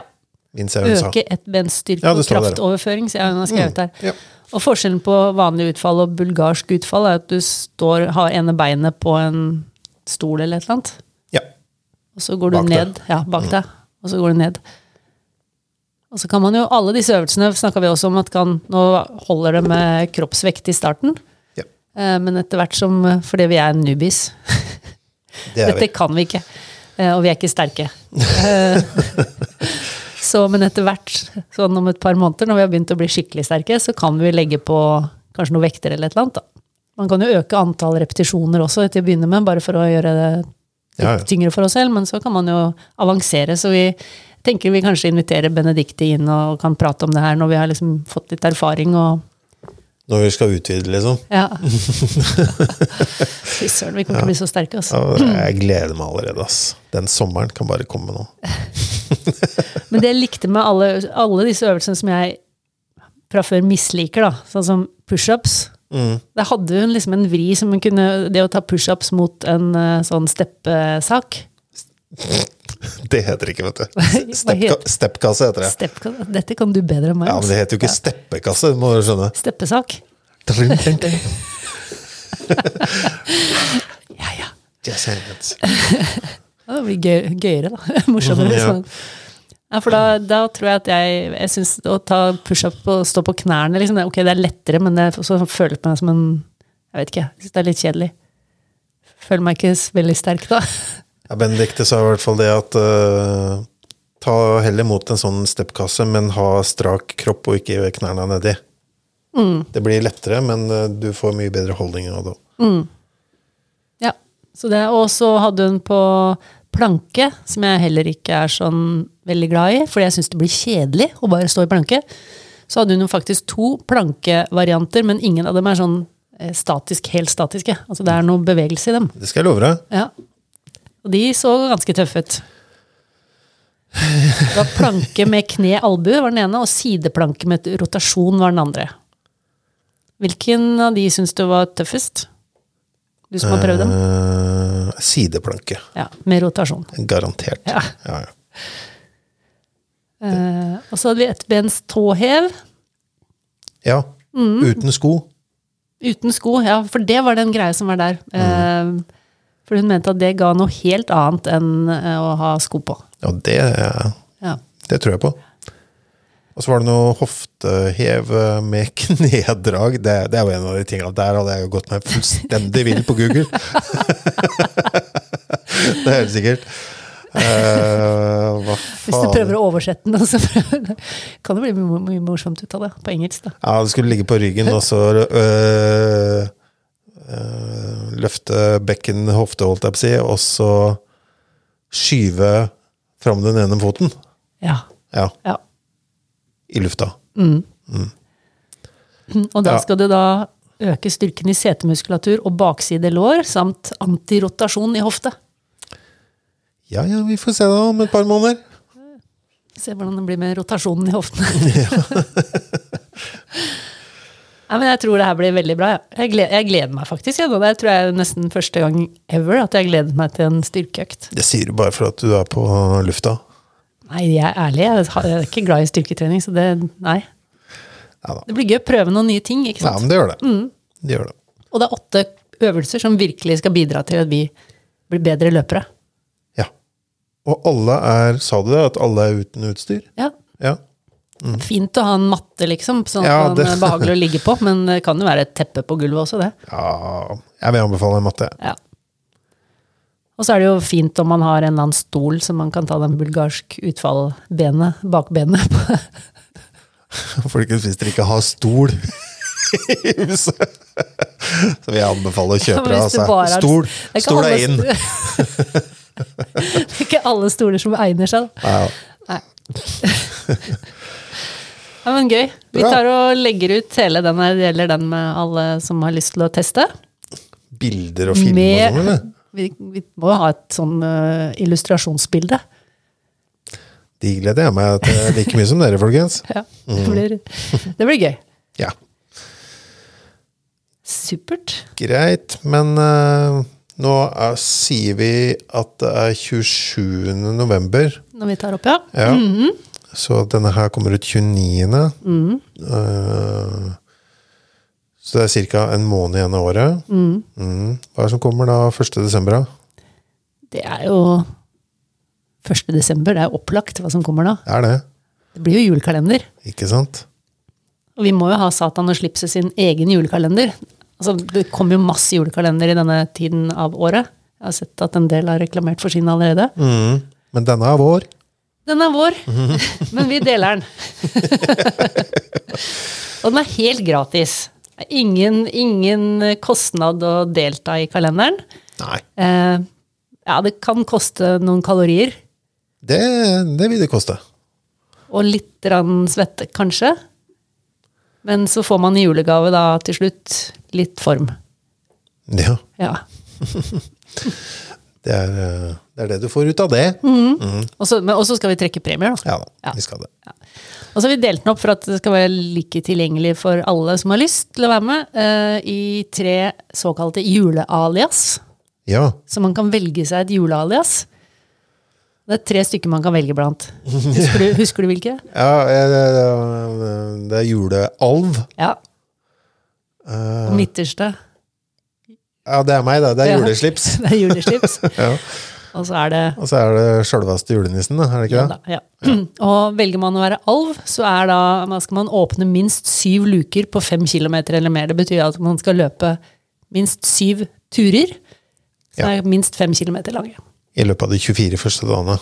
[SPEAKER 1] minnes jeg hun sa.
[SPEAKER 2] Øke ett bens styrke
[SPEAKER 1] Ja, det
[SPEAKER 2] og
[SPEAKER 1] står der, Mm. ja.
[SPEAKER 2] kraftoverføring, så jeg har skrevet her.
[SPEAKER 1] Ja.
[SPEAKER 2] Og forskjellen på vanlig utfall og bulgarsk utfall er at du står, har ene beinet på en stol eller et eller annet,
[SPEAKER 1] Ja.
[SPEAKER 2] og så går du
[SPEAKER 1] Bak deg. Mm.
[SPEAKER 2] ned. Ja, bak deg. Og så går du ned. Og så kan man jo, alle disse øvelsene snakka vi også om at kan, nå holder det med kroppsvekt i starten,
[SPEAKER 1] Ja.
[SPEAKER 2] eh, men etter hvert som Fordi vi er newbies.
[SPEAKER 1] Det er
[SPEAKER 2] Dette
[SPEAKER 1] vi.
[SPEAKER 2] kan vi ikke, eh, og vi er ikke sterke. Eh, <laughs> Så, men etter hvert, sånn om et par måneder, når vi har begynt å bli skikkelig sterke, så kan vi legge på kanskje noen vekter eller et eller annet. Da. Man kan jo øke antall repetisjoner også til å begynne med, bare for å gjøre det litt
[SPEAKER 1] Ja, ja.
[SPEAKER 2] tyngre for oss selv, men så kan man jo avansere. Så vi tenker vi kanskje inviterer Benedicte inn og kan prate om det her når vi har liksom fått litt erfaring og
[SPEAKER 1] Når vi skal utvide, liksom.
[SPEAKER 2] ja. <laughs> Fy søren, vi kommer til å bli så sterke, altså.
[SPEAKER 1] Ja, jeg gleder meg allerede, ass. Den sommeren kan bare komme nå. <laughs>
[SPEAKER 2] Men det jeg likte med alle, alle disse øvelsene som jeg fra før misliker, da, sånn som pushups
[SPEAKER 1] Mm.
[SPEAKER 2] Der hadde hun liksom en vri som hun kunne Det å ta pushups mot en eh, sånn steppesak
[SPEAKER 1] Det heter ikke, vet du.
[SPEAKER 2] Hva
[SPEAKER 1] Steppka,
[SPEAKER 2] heter-
[SPEAKER 1] steppkasse heter det.
[SPEAKER 2] Stepp, Dette kan du bedre enn meg.
[SPEAKER 1] Ja, men
[SPEAKER 2] altså.
[SPEAKER 1] det heter jo ikke steppekasse, må du skjønne.
[SPEAKER 2] Steppesak.
[SPEAKER 1] Ding, ding, ding.
[SPEAKER 2] <laughs> Ja, ja.
[SPEAKER 1] Yes, yes.
[SPEAKER 2] Ja, Det blir gøy, gøyere, da. <laughs> Morsommere.
[SPEAKER 1] Mm, Ja.
[SPEAKER 2] sånn. Ja, for da, da tror jeg at jeg Jeg syns å ta pushup og stå på knærne liksom, det, Ok, det er lettere, men det så føler jeg meg som en Jeg vet ikke, jeg syns det er litt kjedelig. Føler meg ikke s- veldig sterk da. <laughs>
[SPEAKER 1] Ja, Benedicte sa i hvert fall det at eh, ta heller mot en sånn steppkasse, men ha strak kropp og ikke knærne nedi.
[SPEAKER 2] Mm.
[SPEAKER 1] Det blir lettere, men eh, du får mye bedre holdning av det.
[SPEAKER 2] Ja, så det, og så hadde hun på planke, som jeg heller ikke er sånn veldig glad i, fordi jeg syns det blir kjedelig å bare stå i planke. Så hadde hun jo faktisk to plankevarianter, men ingen av dem er sånn eh, statisk, helt statiske. Altså det er noe bevegelse i dem.
[SPEAKER 1] Det skal jeg love deg.
[SPEAKER 2] Ja. Og de så ganske tøffe ut. Det var planke med kne-albue var den ene, og sideplanke med rotasjon var den andre. Hvilken av de syns du var tøffest? Du som har prøvd dem?
[SPEAKER 1] Eh, sideplanke.
[SPEAKER 2] Ja, med rotasjon.
[SPEAKER 1] Garantert.
[SPEAKER 2] Ja.
[SPEAKER 1] Ja, ja.
[SPEAKER 2] Eh, og så hadde vi ettbens tåhev
[SPEAKER 1] ja.
[SPEAKER 2] Mm.
[SPEAKER 1] Uten sko.
[SPEAKER 2] uten sko. Ja, for det var den greia som var der. Eh, for hun mente at det ga noe helt annet enn eh, å ha sko på.
[SPEAKER 1] Ja, det er
[SPEAKER 2] Ja.
[SPEAKER 1] Det tror jeg på. Og så var det noe hoftehev med <laughs> knedrag. Det, det er jo en av de tingene der hadde jeg jo gått meg fullstendig vill på
[SPEAKER 2] <laughs>
[SPEAKER 1] Google. det er helt sikkert. Eh, hva
[SPEAKER 2] Hvis du prøver
[SPEAKER 1] faen?
[SPEAKER 2] å oversette den, <laughs> så prøver- kan det bli mye, mye morsomt ut av det på engelsk. da.
[SPEAKER 1] Ja, det skulle ligge på ryggen og så øh, øh, løfte bekken, hofte, holdt jeg på å si, og så skyve fram den ene foten.
[SPEAKER 2] Ja.
[SPEAKER 1] Ja,
[SPEAKER 2] ja.
[SPEAKER 1] i lufta.
[SPEAKER 2] Og
[SPEAKER 1] Ja.
[SPEAKER 2] da skal du da øke styrken i setemuskulatur og bakside lår, samt antirotasjon i hofte.
[SPEAKER 1] Ja, ja, vi får se da om et par måneder.
[SPEAKER 2] Se hvordan det blir med rotasjonen i hoftene.
[SPEAKER 1] <laughs>
[SPEAKER 2] <laughs> Nei, men jeg tror det her blir veldig bra. ja. Jeg gleder, jeg gleder meg faktisk. Ja. Det tror jeg er nesten første gang ever at jeg gledet meg til en styrkeøkt.
[SPEAKER 1] Det sier du bare for at du er på lufta.
[SPEAKER 2] Nei, jeg er ærlig. Jeg har- jeg er ikke glad i styrketrening, så det Nei.
[SPEAKER 1] Ja da.
[SPEAKER 2] Det blir gøy å prøve noen nye ting, ikke
[SPEAKER 1] Nei,
[SPEAKER 2] sant.
[SPEAKER 1] men det gjør det. Det gjør det.
[SPEAKER 2] Og det er åtte øvelser som virkelig skal bidra til at vi blir bedre løpere.
[SPEAKER 1] Ja. Og alle er Sa du det? At alle er uten utstyr?
[SPEAKER 2] Ja.
[SPEAKER 1] Ja.
[SPEAKER 2] Fint å ha en matte, liksom, sånn at
[SPEAKER 1] Mm. Ja,
[SPEAKER 2] man
[SPEAKER 1] det-
[SPEAKER 2] er behagelig å ligge på. Men det kan jo være et teppe på gulvet også, det.
[SPEAKER 1] ja Jeg vil anbefale matte. <laughs>
[SPEAKER 2] Ja. Og så er det jo fint om man har en eller annen stol som man kan ta den bulgarsk utfallbenet, bakbenet, på.
[SPEAKER 1] Folkens, hvis dere ikke har stol <laughs> i huset, så vil jeg anbefale å
[SPEAKER 2] Ja,
[SPEAKER 1] kjøpe
[SPEAKER 2] men
[SPEAKER 1] det.
[SPEAKER 2] <laughs> hvis det
[SPEAKER 1] Altså.
[SPEAKER 2] bare er-
[SPEAKER 1] Stol,
[SPEAKER 2] Det er ikke
[SPEAKER 1] stol
[SPEAKER 2] alle
[SPEAKER 1] er inn!
[SPEAKER 2] sto- <laughs> det er ikke alle stoler som egner seg. da.
[SPEAKER 1] Ja,
[SPEAKER 2] Nei. Ja, men gøy. Vi
[SPEAKER 1] Bra.
[SPEAKER 2] tar og legger ut hele den her, det gjelder den med alle som har lyst til å teste.
[SPEAKER 1] bilder og film og sånn, eller?
[SPEAKER 2] vi, vi må ha et sånn eh, illustrasjonsbilde.
[SPEAKER 1] De gleder jeg meg til like mye som dere, folkens.
[SPEAKER 2] Ja,
[SPEAKER 1] Mm.
[SPEAKER 2] det, blir, det blir gøy.
[SPEAKER 1] Ja,
[SPEAKER 2] Supert.
[SPEAKER 1] greit. Men eh, nå er, sier vi at det er 27. november.
[SPEAKER 2] Når vi tar opp, ja.
[SPEAKER 1] Ja. Så denne her kommer ut 29. Eh, så det er ca. en måned igjen av året. Mm. Hva er det som kommer da 1. desember? da?
[SPEAKER 2] Det er jo 1. desember, det er opplagt hva som kommer da.
[SPEAKER 1] Det er det,
[SPEAKER 2] Det blir jo julekalender.
[SPEAKER 1] ikke sant?
[SPEAKER 2] Og vi må jo ha Satan og Slipset sin egen julekalender. Altså, det kommer jo masse julekalender i denne tiden av året. Jeg har sett at en del har reklamert for sin allerede.
[SPEAKER 1] Mm. Men denne er vår.
[SPEAKER 2] Den er vår, <laughs> men vi deler den. <laughs> og den er helt gratis. Det er Ingen, ingen kostnad å delta i kalenderen.
[SPEAKER 1] Nei.
[SPEAKER 2] Eh, ja, det kan koste noen kalorier
[SPEAKER 1] Det, det vil det koste.
[SPEAKER 2] og litt grann svette, kanskje. Men så får man i julegave da til slutt litt form.
[SPEAKER 1] Ja,
[SPEAKER 2] Ja.
[SPEAKER 1] det er, eh, det er det du får ut av det.
[SPEAKER 2] Og så men- og så skal vi trekke premier, da.
[SPEAKER 1] Ja da,
[SPEAKER 2] Ja.
[SPEAKER 1] vi skal det.
[SPEAKER 2] Og så har vi delt den opp for at det skal være like tilgjengelig for alle som har lyst til å være med, eh, i tre såkalte julealias.
[SPEAKER 1] Ja,
[SPEAKER 2] Så man kan velge seg et julealias. Det er tre stykker man kan velge blant. Husker du, husker du hvilke?
[SPEAKER 1] ja eh, eh, det er julealv.
[SPEAKER 2] Ja.
[SPEAKER 1] Eh,
[SPEAKER 2] Og midterste.
[SPEAKER 1] Ja, det er meg, da. Det er
[SPEAKER 2] Ja.
[SPEAKER 1] juleslips.
[SPEAKER 2] <laughs> Det er juleslips.
[SPEAKER 1] <laughs> Ja.
[SPEAKER 2] Og så er det
[SPEAKER 1] Og så er det sjølveste julenissen, da. Er det ikke
[SPEAKER 2] Ja
[SPEAKER 1] det?
[SPEAKER 2] da, ja. <clears throat> Og velger man å være alv, så er da, da skal man åpne minst syv luker på fem kilometer eller mer. Det betyr at man skal løpe minst syv turer, som
[SPEAKER 1] Ja.
[SPEAKER 2] er minst fem kilometer lange.
[SPEAKER 1] I løpet av de 24 første dagene.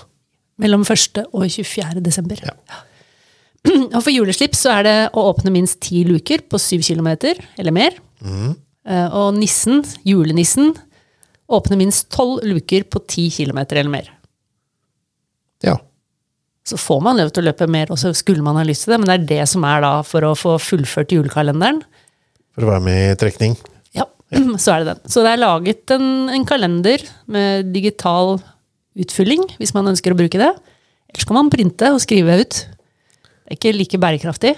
[SPEAKER 2] Mellom 1. og 24. desember.
[SPEAKER 1] Ja.
[SPEAKER 2] <clears throat> Og for juleslips så er det å åpne minst ti luker på syv kilometer eller mer.
[SPEAKER 1] Mhm.
[SPEAKER 2] Eh, Og nissen, julenissen, åpner minst tolv luker på ti kilometer eller mer.
[SPEAKER 1] Ja.
[SPEAKER 2] så får man lov til å løpe mer, og så skulle man ha lyst til det, men det er det som er da for å få fullført julekalenderen.
[SPEAKER 1] For å være med i
[SPEAKER 2] <laughs>
[SPEAKER 1] trekning.
[SPEAKER 2] Ja, <clears throat> så er det den. Så det er laget en, en kalender med digital utfylling, hvis man ønsker å bruke det. Ellers kan man printe og skrive ut. Det er ikke like bærekraftig,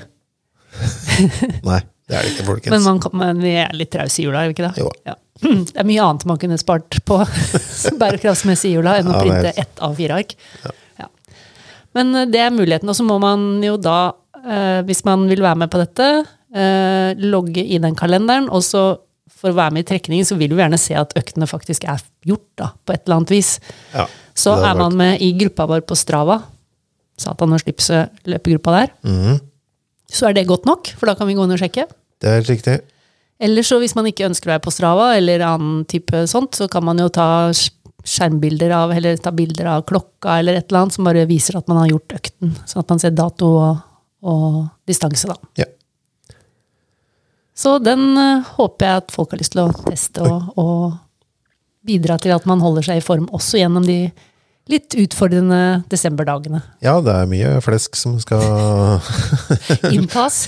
[SPEAKER 1] Nei, det er det ikke, folkens.
[SPEAKER 2] men, man kan, men vi er litt trause i jula, er vi ikke det?
[SPEAKER 1] Jo.
[SPEAKER 2] Ja. Hmm, Det er mye annet man kunne spart på <laughs> bærekraftsmessig i jula enn å
[SPEAKER 1] Ja, det er-
[SPEAKER 2] printe ett av fire ark. Ja. Men eh, det er muligheten, og så må man jo da, eh, hvis man vil være med på dette, eh, logge i den kalenderen, og så for å være med i trekningen, så vil du gjerne se at øktene faktisk er gjort, da, på et eller annet vis.
[SPEAKER 1] Ja,
[SPEAKER 2] Så
[SPEAKER 1] det har
[SPEAKER 2] er man med i gruppa vår på Strava, Satan og Slipset løpegruppa der.
[SPEAKER 1] Mhm.
[SPEAKER 2] Så er det godt nok, for da kan vi gå inn og sjekke.
[SPEAKER 1] Det er helt riktig.
[SPEAKER 2] Eller så hvis man ikke ønsker å være på Strava eller annen type sånt, så kan man jo ta sk- skjermbilder av, eller ta bilder av klokka eller et eller annet som bare viser at man har gjort økten. Sånn at man ser dato og, og distanse, da.
[SPEAKER 1] Ja.
[SPEAKER 2] Så den eh, håper jeg at folk har lyst til å teste og, og bidra til at man holder seg i form også gjennom de litt utfordrende desemberdagene.
[SPEAKER 1] ja, det er mye flesk som skal <laughs>
[SPEAKER 2] Innpass.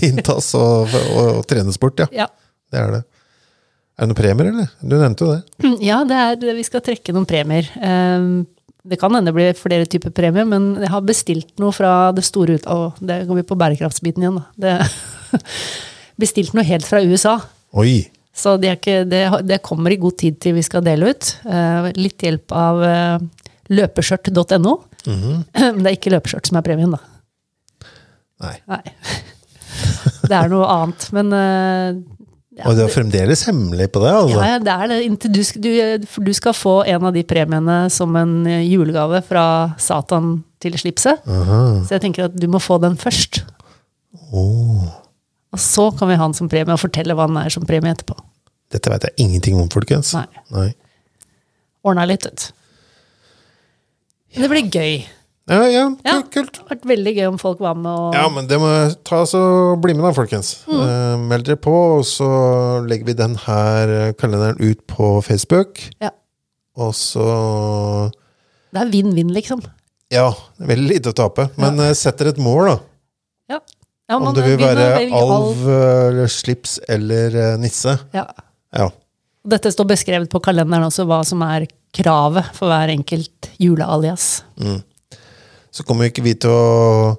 [SPEAKER 1] inntas og, og, og trenes bort, ja.
[SPEAKER 2] Ja.
[SPEAKER 1] Det er det. Er det noen premier, eller? Du nevnte jo det.
[SPEAKER 2] Ja, det er, vi skal trekke noen premier. Ehm, Det kan hende det blir flere typer premier, men jeg har bestilt noe fra det store ut... Å, det går vi på bærekraftsbiten igjen, da. Det, <laughs> bestilt noe helt fra USA.
[SPEAKER 1] Oi!
[SPEAKER 2] Så det, er ikke, det, har- det kommer i god tid til vi skal dele ut. Eh, Litt hjelp av eh, løpeskjørt.no. <clears throat> Men det er ikke løpeskjørt som er premien, da.
[SPEAKER 1] Nei.
[SPEAKER 2] <laughs> Nei. Det er noe annet. Men eh,
[SPEAKER 1] Og det er fremdeles hemmelig på det? altså.
[SPEAKER 2] Ja, ja, det er det. Inntil du, sk- du, for du skal få en av de premiene som en eh, julegave fra Satan til slipset. Så jeg tenker at du må få den først. Og så kan vi ha den som premie, og fortelle hva den er som premie etterpå.
[SPEAKER 1] Dette vet jeg ingenting om, folkens.
[SPEAKER 2] Nei. Ordna litt, vet du. Men det blir gøy.
[SPEAKER 1] Ja, ja,
[SPEAKER 2] Ja.
[SPEAKER 1] ku- kult.
[SPEAKER 2] Det hadde vært veldig gøy om folk var med og
[SPEAKER 1] Ja, men det må jeg ta oss og bli med da, folkens.
[SPEAKER 2] Mm.
[SPEAKER 1] Eh, meld dere på, og så legger vi den her eh, kalenderen ut på Facebook.
[SPEAKER 2] Ja.
[SPEAKER 1] Og så
[SPEAKER 2] Det er vinn-vinn, liksom.
[SPEAKER 1] Ja, det er veldig lite å tape, men eh, sett dere et mål, da.
[SPEAKER 2] Ja. Ja,
[SPEAKER 1] Om
[SPEAKER 2] man
[SPEAKER 1] du vil
[SPEAKER 2] begynner å
[SPEAKER 1] være
[SPEAKER 2] velge
[SPEAKER 1] alv, eh, eller slips eller eh, nisse.
[SPEAKER 2] Ja.
[SPEAKER 1] Ja.
[SPEAKER 2] Og Dette står beskrevet på kalenderen også, hva som er kravet for hver enkelt julealias.
[SPEAKER 1] Så kommer jo ikke vi til å,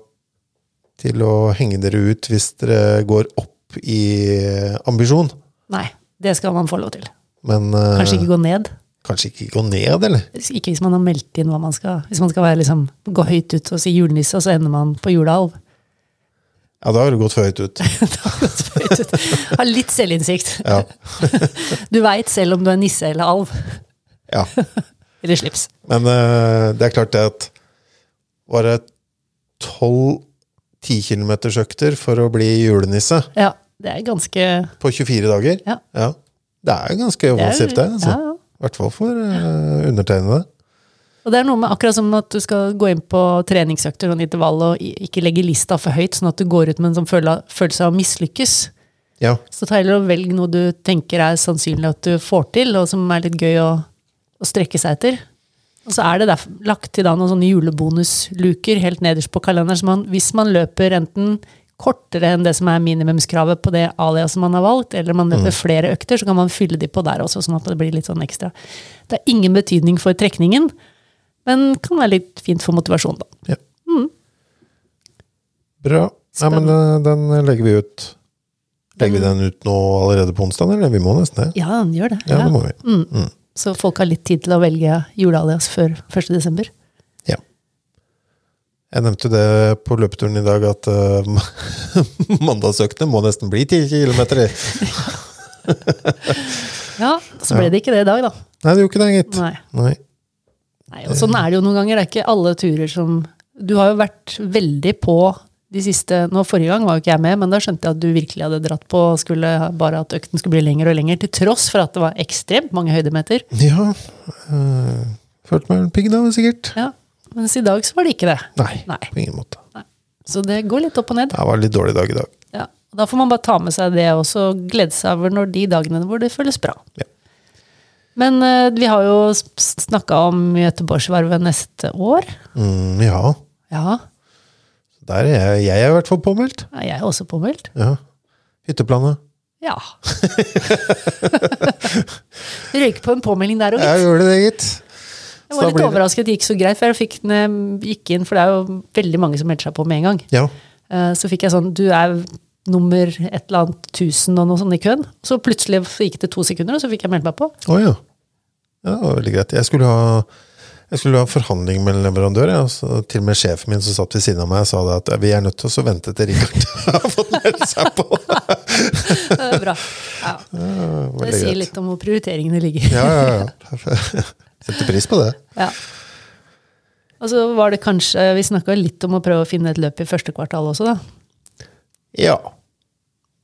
[SPEAKER 1] til å henge dere ut hvis dere går opp i eh, ambisjon.
[SPEAKER 2] Nei, det skal man få lov til.
[SPEAKER 1] Men eh,
[SPEAKER 2] Kanskje ikke gå ned.
[SPEAKER 1] kanskje ikke gå ned, eller?
[SPEAKER 2] Ikke hvis man har meldt inn hva man skal Hvis man skal være liksom, gå høyt ut og si julenisse, og så ender man på julealv.
[SPEAKER 1] Ja, da har du gått for høyt
[SPEAKER 2] <laughs>
[SPEAKER 1] ut.
[SPEAKER 2] Ha litt selvinnsikt.
[SPEAKER 1] Ja.
[SPEAKER 2] <laughs> Du veit selv om du er nisse eller alv.
[SPEAKER 1] ja.
[SPEAKER 2] Eller slips.
[SPEAKER 1] Men eh, det er klart det at var det tolv 10 kilometers økter for å bli julenisse
[SPEAKER 2] Ja, det er ganske
[SPEAKER 1] på 24 dager.
[SPEAKER 2] Ja.
[SPEAKER 1] Det er jo ganske offensivt, det. Altså.
[SPEAKER 2] Ja, ja.
[SPEAKER 1] I hvert fall for eh, undertegnede.
[SPEAKER 2] Og det er noe med akkurat som at du skal gå inn på treningsøkter og en intervall og i- ikke legge lista for høyt, sånn at du går ut med en sånn føle- følelse av å mislykkes.
[SPEAKER 1] Ja.
[SPEAKER 2] Så ta heller og velg noe du tenker er sannsynlig at du får til, og som er litt gøy å, å strekke seg etter. Og så er det derfor, lagt til da noen sånne julebonusluker helt nederst på kalenderen. Så man, hvis man løper enten kortere enn det som er minimumskravet på det aliaset man har valgt, eller man
[SPEAKER 1] Mm.
[SPEAKER 2] løper flere økter, så kan man fylle de på der også, sånn at det blir litt sånn ekstra. Det har ingen betydning for trekningen, men kan være litt fint for motivasjon, da.
[SPEAKER 1] Mm. Bra. Nei, men eh, den legger vi ut. Legger vi den ut nå allerede på onsdag, eller? Vi må nesten det.
[SPEAKER 2] Ja, den gjør det.
[SPEAKER 1] Ja, det
[SPEAKER 2] Ja.
[SPEAKER 1] må vi.
[SPEAKER 2] Så folk har litt tid til å velge julealias før 1. desember.
[SPEAKER 1] Ja. Jeg nevnte det på løpeturen i dag, at eh, <laughs> mandagsøktene må nesten bli 10 kilometer.
[SPEAKER 2] Ja, så ble det ikke det i dag, da.
[SPEAKER 1] Nei, det gjorde ikke det, gitt.
[SPEAKER 2] Nei.
[SPEAKER 1] Nei.
[SPEAKER 2] Nei, og sånn er det jo noen ganger. Det er ikke alle turer som Du har jo vært veldig på de siste nå Forrige gang var jo ikke jeg med, men da skjønte jeg at du virkelig hadde dratt på og skulle ha- bare at økten skulle bli lengre og lengre, til tross for at det var ekstremt mange høydemeter.
[SPEAKER 1] Ja øh, Følte meg en pigg da, sikkert.
[SPEAKER 2] Ja, Mens i dag så var det ikke det.
[SPEAKER 1] Nei,
[SPEAKER 2] Nei.
[SPEAKER 1] på ingen måte.
[SPEAKER 2] Nei. Så det går litt opp og ned.
[SPEAKER 1] Det var en litt dårlig dag i dag.
[SPEAKER 2] Ja. Og da får man bare ta med seg det også, og glede seg over når de dagene hvor det føles bra.
[SPEAKER 1] Ja.
[SPEAKER 2] Men eh, vi har jo snakka om Göteborgsvarvet neste år.
[SPEAKER 1] Mm, ja,
[SPEAKER 2] Ja,
[SPEAKER 1] der er jeg, jeg er i hvert fall påmeldt.
[SPEAKER 2] er jeg også påmeldt?
[SPEAKER 1] Ja. Hytteplanet.
[SPEAKER 2] Ja. Røyk på en påmelding der òg,
[SPEAKER 1] Jeg
[SPEAKER 2] gitt.
[SPEAKER 1] gjør det, gitt.
[SPEAKER 2] Jeg
[SPEAKER 1] Så da
[SPEAKER 2] var litt
[SPEAKER 1] blir det-
[SPEAKER 2] overrasket, det gikk så greit, for jeg fikk den, eh, gikk inn, for det er jo veldig mange som melder seg på med en gang.
[SPEAKER 1] Ja.
[SPEAKER 2] Eh, Så fikk jeg sånn, du er nummer et eller annet tusen og noe sånt i køen. Så plutselig gikk det to sekunder, og så fikk jeg meldt meg på.
[SPEAKER 1] Å ja. ja. Det var veldig greit. Jeg skulle ha, jeg skulle ha forhandling med en leverandør. Ja. Så til og med sjefen min som satt ved siden av meg, sa det at vi er nødt til å vente til Richard <laughs> har fått meldt seg på.
[SPEAKER 2] Det er Bra. Ja.
[SPEAKER 1] Ja,
[SPEAKER 2] Det
[SPEAKER 1] veldig
[SPEAKER 2] sier
[SPEAKER 1] greit.
[SPEAKER 2] litt om hvor prioriteringene ligger. <laughs>
[SPEAKER 1] Ja, ja, ja. Setter pris på det.
[SPEAKER 2] Ja. Og så var det kanskje, eh, vi snakka litt om å prøve å finne et løp i første kvartal også, da.
[SPEAKER 1] Ja.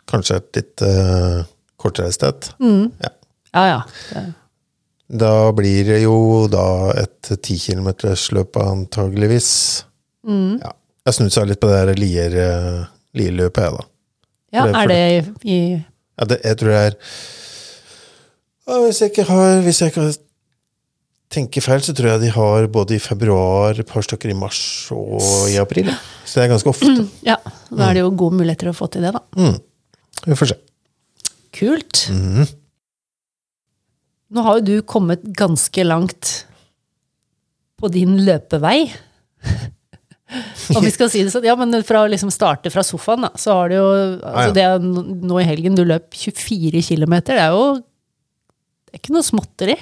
[SPEAKER 1] Kanskje et litt eh, kortere sted.
[SPEAKER 2] Mm.
[SPEAKER 1] Ja.
[SPEAKER 2] Ja ja. Det-
[SPEAKER 1] Da blir det jo da et 10 kilometersløp antageligvis.
[SPEAKER 2] Mm.
[SPEAKER 1] Ja. Jeg snusa litt på det her Lier, eh, Lier-løpet, jeg, da.
[SPEAKER 2] Ja,
[SPEAKER 1] For det-
[SPEAKER 2] er
[SPEAKER 1] for
[SPEAKER 2] det i, i
[SPEAKER 1] Ja, det, jeg tror det er ja, hvis, jeg ikke har, hvis jeg ikke tenker feil, så tror jeg de har både i februar, et par stykker i mars og i april. ja. Så det er ganske ofte. Mm.
[SPEAKER 2] Ja, da er det jo gode muligheter å få til det, da.
[SPEAKER 1] Vi får se. Mm.
[SPEAKER 2] Kult. Nå har jo du kommet ganske langt på din
[SPEAKER 1] <laughs>
[SPEAKER 2] løpevei. Om vi skal si det sånn, ja, men fra å liksom starte fra sofaen, da, så har du jo
[SPEAKER 1] Ah, ja.
[SPEAKER 2] altså det er n- Nå i helgen du løp 24 km, det er jo det er ikke noe småtteri.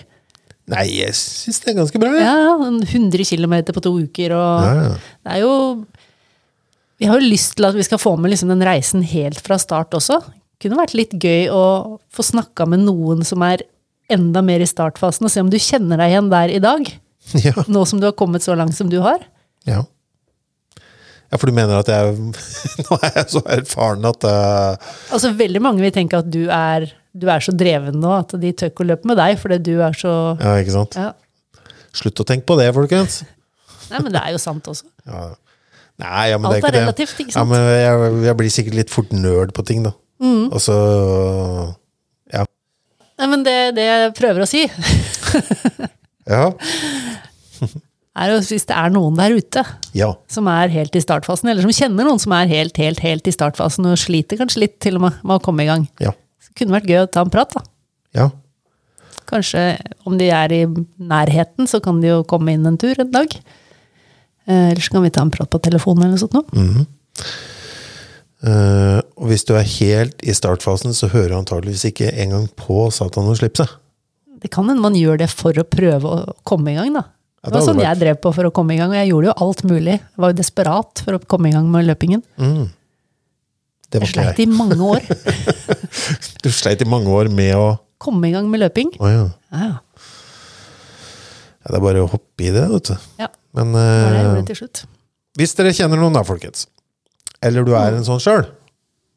[SPEAKER 1] Nei, jeg syns det er ganske bra. jeg.
[SPEAKER 2] Ja, en 100 km på to uker og
[SPEAKER 1] Ja, <laughs> ja.
[SPEAKER 2] Det er jo Vi har jo lyst til at vi skal få med liksom den reisen helt fra start også. kunne vært litt gøy å få snakka med noen som er enda mer i startfasen, og se om du kjenner deg igjen der i dag.
[SPEAKER 1] Ja.
[SPEAKER 2] Nå som du har kommet så langt som du har.
[SPEAKER 1] ja. Ja, for du mener at jeg Nå er <laughs> jeg så erfaren at eh,
[SPEAKER 2] Altså, veldig mange vil tenke at du er, du er så dreven nå at de tør ikke å løpe med deg, fordi du er så
[SPEAKER 1] Ja, ikke sant?
[SPEAKER 2] ja.
[SPEAKER 1] Slutt å tenke på det, folkens!
[SPEAKER 2] Nei, men det er jo sant også.
[SPEAKER 1] Ja. Nei, ja, men
[SPEAKER 2] Alt
[SPEAKER 1] det er
[SPEAKER 2] er
[SPEAKER 1] ikke det.
[SPEAKER 2] relativt, ikke
[SPEAKER 1] Ja,
[SPEAKER 2] sant?
[SPEAKER 1] men jeg, jeg blir sikkert litt fort nerd på ting, da.
[SPEAKER 2] Mm.
[SPEAKER 1] Og så
[SPEAKER 2] Nei, men det, det jeg prøver å si,
[SPEAKER 1] Ja.
[SPEAKER 2] er jo at hvis det er noen der ute
[SPEAKER 1] Ja.
[SPEAKER 2] som er helt i startfasen, eller som kjenner noen som er helt, helt, helt i startfasen, og sliter kanskje litt til og med med å komme i gang,
[SPEAKER 1] Ja.
[SPEAKER 2] så kunne det vært gøy å ta en prat, da.
[SPEAKER 1] ja.
[SPEAKER 2] Kanskje om de er i nærheten, så kan de jo komme inn en tur en dag. Eh, Eller så kan vi ta en prat på telefonen eller noe sånt.
[SPEAKER 1] Mm.
[SPEAKER 2] nå.
[SPEAKER 1] Eh, og hvis du er helt i startfasen, så hører du antageligvis ikke engang på Satan og Slipset.
[SPEAKER 2] Det kan hende man gjør det for å prøve å komme i gang, da.
[SPEAKER 1] Ja,
[SPEAKER 2] Det var
[SPEAKER 1] det hadde
[SPEAKER 2] sånn
[SPEAKER 1] vært-
[SPEAKER 2] jeg drev på for å komme i gang, og jeg gjorde jo alt mulig. Jeg var jo desperat for å komme i gang med løpingen.
[SPEAKER 1] Mm. Det var
[SPEAKER 2] Jeg
[SPEAKER 1] ikke
[SPEAKER 2] sleit
[SPEAKER 1] jeg.
[SPEAKER 2] i mange år.
[SPEAKER 1] <laughs> Du sleit i mange år med å
[SPEAKER 2] Komme i gang med løping.
[SPEAKER 1] Å ja.
[SPEAKER 2] Ja,
[SPEAKER 1] ja. Det er bare å hoppe i det, vet du.
[SPEAKER 2] ja.
[SPEAKER 1] Men
[SPEAKER 2] Det var det jeg
[SPEAKER 1] eh,
[SPEAKER 2] gjorde til slutt.
[SPEAKER 1] hvis dere kjenner noen da, folkens, eller du
[SPEAKER 2] Mm.
[SPEAKER 1] er en sånn sjøl,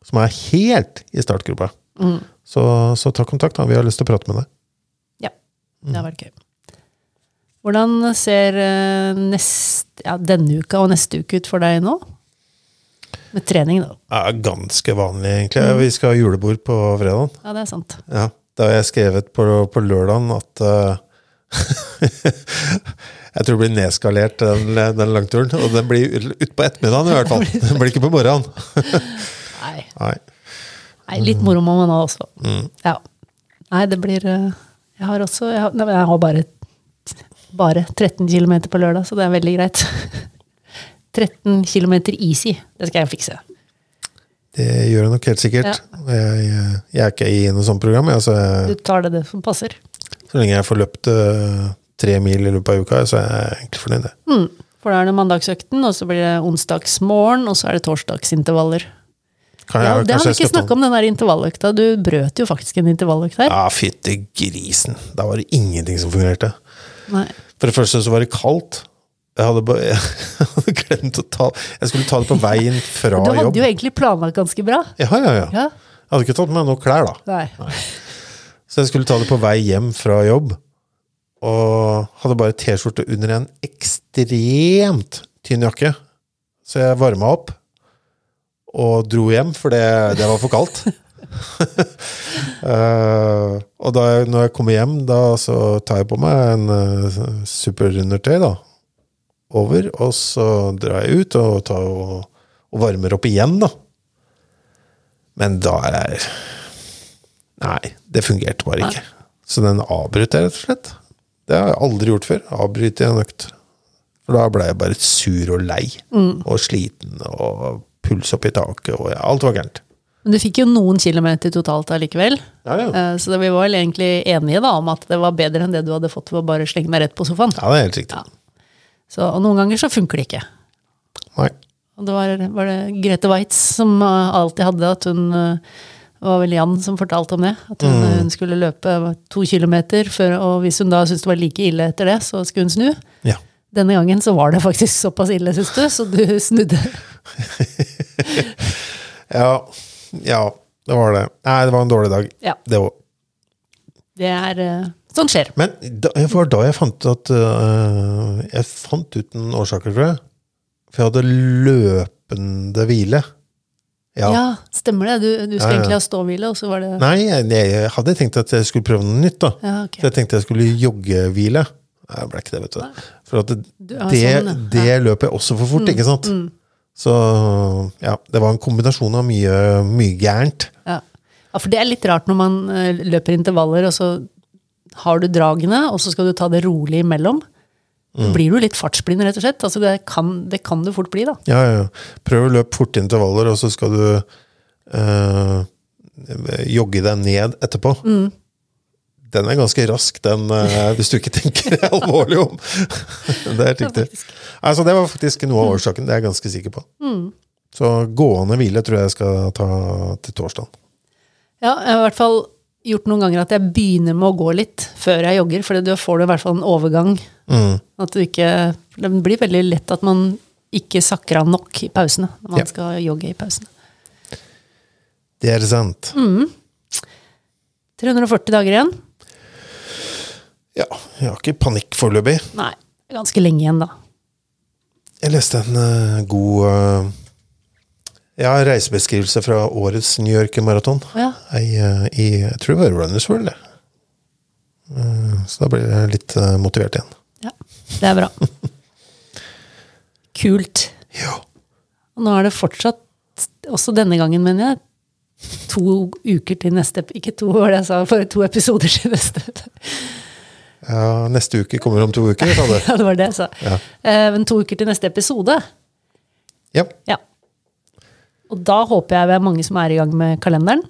[SPEAKER 1] som er helt i startgropa,
[SPEAKER 2] Mm.
[SPEAKER 1] så, så ta kontakt. da, Vi har lyst til å prate med deg.
[SPEAKER 2] Ja, det har vært gøy. Hvordan ser eh, nest, ja, denne uka og neste uke ut for deg nå? Med trening, da.
[SPEAKER 1] Ja, ganske vanlig, egentlig.
[SPEAKER 2] Mm.
[SPEAKER 1] Vi skal ha julebord på fredagen.
[SPEAKER 2] Ja, det er sant.
[SPEAKER 1] Ja, da har jeg skrevet på, på lørdagen at eh, <laughs> Jeg tror det blir nedskalert, den, den langturen. Og den blir utpå ettermiddagen i hvert fall. Den blir ikke på morgenen.
[SPEAKER 2] Nei,
[SPEAKER 1] Nei.
[SPEAKER 2] nei litt moro må man ha også. Ja. Nei, det blir eh, Jeg har også Jeg har, nei, men jeg har bare, bare 13 km på lørdag, så det er veldig greit. <laughs> 13 km easy. Det skal jeg fikse.
[SPEAKER 1] Det gjør jeg nok helt sikkert. Jeg, jeg, jeg er ikke i noe sånt program. Jeg, så,
[SPEAKER 2] Du
[SPEAKER 1] jeg,
[SPEAKER 2] tar det det som passer.
[SPEAKER 1] så lenge jeg får løpt eh, tre mil i løpet av uka, så er jeg egentlig fornøyd. jeg.
[SPEAKER 2] Mm. For da er det mandagsøkten, og så blir det onsdagsmorgen, og så er det torsdagsintervaller.
[SPEAKER 1] Kan
[SPEAKER 2] Ja,
[SPEAKER 1] jeg-
[SPEAKER 2] det
[SPEAKER 1] kanskje
[SPEAKER 2] har vi
[SPEAKER 1] jeg
[SPEAKER 2] ikke
[SPEAKER 1] skal ta
[SPEAKER 2] snakka om, den der intervalløkta. Du brøt jo faktisk en intervalløkt her.
[SPEAKER 1] Ja, fytti grisen. Da var det ingenting som fungerte.
[SPEAKER 2] Nei.
[SPEAKER 1] For det første så var det kaldt. <laughs> Jeg hadde, bare, jeg hadde glemt å ta Jeg skulle ta det på veien fra
[SPEAKER 2] Du hadde
[SPEAKER 1] jobb.
[SPEAKER 2] jo egentlig planlagt ganske bra.
[SPEAKER 1] Ja, ja, ja.
[SPEAKER 2] Ja.
[SPEAKER 1] Jeg hadde ikke tatt med meg noe klær, da.
[SPEAKER 2] Nei.
[SPEAKER 1] Så jeg skulle ta det på vei hjem fra jobb. Og hadde bare T-skjorte under en ekstremt tynn jakke. Så jeg varma opp og dro hjem, for det, det var for kaldt. Eh, og da, jeg- når jeg kommer hjem, da så tar jeg på meg en eh, superundertøy, da. Over. Og så drar jeg ut og, tar og, og varmer opp igjen, da. Men da er jeg Nei, det fungerte bare ikke. Så den avbrøt jeg, rett og slett. Det har jeg aldri gjort før. Avbryte en økt. For da ble jeg bare sur og lei. Og sliten og puls opp i taket og ja, alt var gærent.
[SPEAKER 2] Men du fikk jo noen kilometer totalt allikevel.
[SPEAKER 1] Ja, ja.
[SPEAKER 2] Eh, Så det- vi var vel egentlig enige da, om at det var bedre enn det du hadde fått ved å bare slenge deg rett på sofaen.
[SPEAKER 1] Ja, det er helt riktig.
[SPEAKER 2] Så, og noen ganger så funker det ikke.
[SPEAKER 1] Nei.
[SPEAKER 2] Og det var, var det Grete Waitz som eh, alltid hadde at hun eh, det var vel Jan som fortalte om det. At
[SPEAKER 1] Mm.
[SPEAKER 2] hun, eh, hun skulle løpe to kilometer, før, og hvis hun da syntes det var like ille etter det, så skulle hun snu.
[SPEAKER 1] Ja.
[SPEAKER 2] Denne gangen så var det faktisk såpass ille, syns du, så du snudde.
[SPEAKER 1] ja. Ja, det var det. Nei, det var en dårlig dag.
[SPEAKER 2] Ja,
[SPEAKER 1] Det var.
[SPEAKER 2] det er eh, Sånn skjer.
[SPEAKER 1] Men da, det var da jeg fant at øh, Jeg fant ut en årsak, tror jeg. For jeg hadde løpende hvile.
[SPEAKER 2] Ja, stemmer det. Du, du
[SPEAKER 1] Ja,
[SPEAKER 2] skulle
[SPEAKER 1] ja.
[SPEAKER 2] egentlig ha ståhvile, og så var det
[SPEAKER 1] Nei, jeg, jeg hadde tenkt at jeg skulle prøve noe nytt. da.
[SPEAKER 2] Ja,
[SPEAKER 1] Så
[SPEAKER 2] ok.
[SPEAKER 1] jeg tenkte jeg skulle joggehvile. Nei, det ble ikke det, vet du. For at det,
[SPEAKER 2] Du er
[SPEAKER 1] det,
[SPEAKER 2] sånn, Mm,
[SPEAKER 1] det løper jeg også for fort, ikke sant? Så ja, det var en kombinasjon av mye, mye gærent.
[SPEAKER 2] Ja. ja, for det er litt rart når man eh, løper intervaller, og så har du dragene, og så skal du ta det rolig imellom. Da
[SPEAKER 1] Mm.
[SPEAKER 2] blir du litt fartsblind, rett og slett. Altså, det, kan, det kan du fort bli, da.
[SPEAKER 1] Ja, ja. Prøv å løpe fort intervaller, og så skal du eh, jogge deg ned etterpå. Den er ganske rask, den, eh, hvis du ikke tenker <laughs> alvorlig om. det er helt riktig. altså, det var faktisk noe av årsaken, det er jeg Mm. ganske sikker på. Så gående hvile tror jeg jeg skal ta til torsdag.
[SPEAKER 2] Ja, jeg har i hvert fall gjort noen ganger at jeg begynner med å gå litt før jeg jogger, for da får du i hvert fall en overgang.
[SPEAKER 1] Mm.
[SPEAKER 2] At du ikke, det blir veldig lett at man ikke sakker av nok i pausene når man
[SPEAKER 1] Ja.
[SPEAKER 2] skal jogge i pausene.
[SPEAKER 1] Det er sant.
[SPEAKER 2] 340 dager igjen?
[SPEAKER 1] Ja, jeg har ikke panikk foreløpig.
[SPEAKER 2] Nei, det er ganske lenge igjen, da.
[SPEAKER 1] Jeg leste en eh, god eh, ja, reisebeskrivelse fra årets New York-maraton.
[SPEAKER 2] Å ja.
[SPEAKER 1] Jeg, eh, i, jeg tror det var Runners World, det. Eh, Så da blir jeg litt eh, motivert igjen.
[SPEAKER 2] ja.
[SPEAKER 1] <laughs>
[SPEAKER 2] Det er bra. Kult.
[SPEAKER 1] Ja.
[SPEAKER 2] Og nå er det fortsatt, også denne gangen, mener jeg, to uker til neste ep- Ikke to, var det jeg sa, for to episoder til neste. <laughs>
[SPEAKER 1] ja. Neste uke kommer om to uker, sa du.
[SPEAKER 2] Ja, det var det jeg sa.
[SPEAKER 1] Ja.
[SPEAKER 2] Eh, Men to uker til neste episode.
[SPEAKER 1] <laughs> Ja.
[SPEAKER 2] Ja. Og da håper jeg vi er mange som er i gang med kalenderen.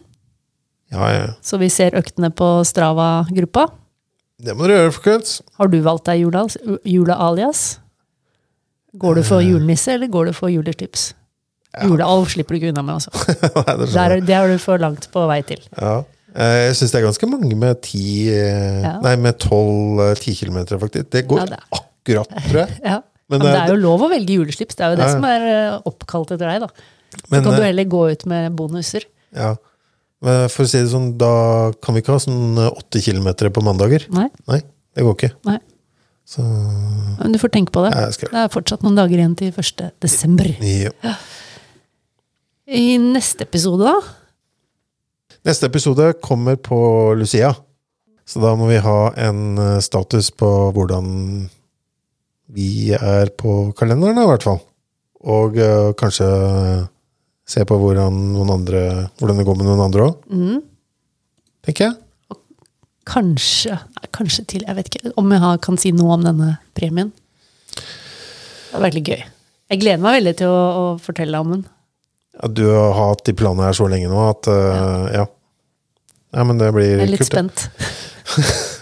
[SPEAKER 1] ja, ja.
[SPEAKER 2] Så vi ser øktene på Strava-gruppa.
[SPEAKER 1] Det må dere gjøre, <laughs> folkens.
[SPEAKER 2] Har du valgt deg jula, jula-alias? Går du
[SPEAKER 1] Eh.
[SPEAKER 2] for julenisse, eller går du for julertips? Julealv slipper du ikke unna
[SPEAKER 1] <laughs>
[SPEAKER 2] med, altså.
[SPEAKER 1] Nei, det sånn.
[SPEAKER 2] Der,
[SPEAKER 1] skjønner jeg.
[SPEAKER 2] er- det er du for langt på vei til.
[SPEAKER 1] ja. Eh, Jeg syns det er ganske mange med ti eh,
[SPEAKER 2] Ja.
[SPEAKER 1] Nei, med tolv, eh, ti kilometer, faktisk. Det går
[SPEAKER 2] Ja, det er-
[SPEAKER 1] akkurat, tror jeg.
[SPEAKER 2] Ja.
[SPEAKER 1] Men eh,
[SPEAKER 2] Men, det
[SPEAKER 1] det-
[SPEAKER 2] er jo lov å velge juleslips. Det er jo det
[SPEAKER 1] Ja, ja.
[SPEAKER 2] som er eh, oppkalt etter deg, da. Så
[SPEAKER 1] Men,
[SPEAKER 2] kan du
[SPEAKER 1] eh,
[SPEAKER 2] heller gå ut med bonuser.
[SPEAKER 1] Ja. Men for å si det sånn, da kan vi ikke ha sånn eh, åtte kilometer på mandager.
[SPEAKER 2] Nei,
[SPEAKER 1] Nei, det går ikke.
[SPEAKER 2] nei.
[SPEAKER 1] Så
[SPEAKER 2] Men du får tenke på det.
[SPEAKER 1] jeg skal
[SPEAKER 2] Det er fortsatt noen dager igjen til 1. desember.
[SPEAKER 1] ja.
[SPEAKER 2] I neste episode, da,
[SPEAKER 1] Neste episode kommer på Lucia. Så da må vi ha en eh, status på hvordan vi er på kalenderen, da, i hvert fall. Og eh, kanskje se på hvordan, noen andre, hvordan det går med noen andre òg,
[SPEAKER 2] mm,
[SPEAKER 1] tenker jeg.
[SPEAKER 2] kanskje nei, Kanskje til, jeg vet ikke om jeg har, kan si noe om denne premien. Det hadde vært litt gøy. Jeg gleder meg veldig til å, å fortelle om den.
[SPEAKER 1] Ja, du har hatt de planene her så lenge nå at eh, ja. Nei, men det blir
[SPEAKER 2] Jeg er litt
[SPEAKER 1] kult. det.
[SPEAKER 2] spent.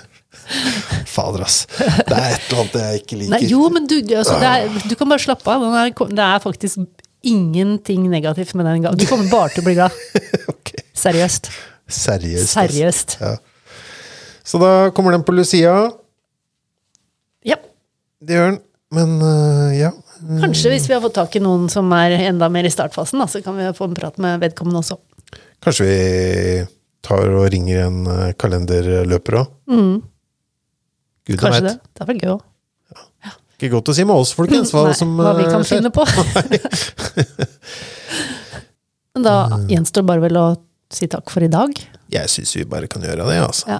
[SPEAKER 1] Fader, ass. Det er et eller annet jeg ikke liker.
[SPEAKER 2] <laughs> Nei, jo, men du, det- altså, det er, du kan bare slappe av. Den er, det er faktisk ingenting negativt med den. ga- Du kommer bare til å bli glad.
[SPEAKER 1] <laughs> Ok.
[SPEAKER 2] Seriøst.
[SPEAKER 1] Seriøst. ass.
[SPEAKER 2] Seriøst.
[SPEAKER 1] Ja. Så da kommer den på Lucia.
[SPEAKER 2] Ja.
[SPEAKER 1] Det gjør den. Men eh, ja.
[SPEAKER 2] Kanskje hvis vi har fått tak i noen som er enda mer i startfasen, da, så kan vi få en prat med vedkommende også.
[SPEAKER 1] Kanskje vi tar og ringer en eh, kalenderløper òg. Gud
[SPEAKER 2] Mm, Kanskje
[SPEAKER 1] veit.
[SPEAKER 2] det. Det er vel gøy òg.
[SPEAKER 1] Ikke godt å si med oss, folkens, hva
[SPEAKER 2] Nei,
[SPEAKER 1] som
[SPEAKER 2] hva vi
[SPEAKER 1] eh,
[SPEAKER 2] kan
[SPEAKER 1] skjer.
[SPEAKER 2] finne på.
[SPEAKER 1] <laughs>
[SPEAKER 2] Men da gjenstår bare vel å si takk for i dag.
[SPEAKER 1] Jeg syns vi bare kan gjøre det, altså.
[SPEAKER 2] Ja.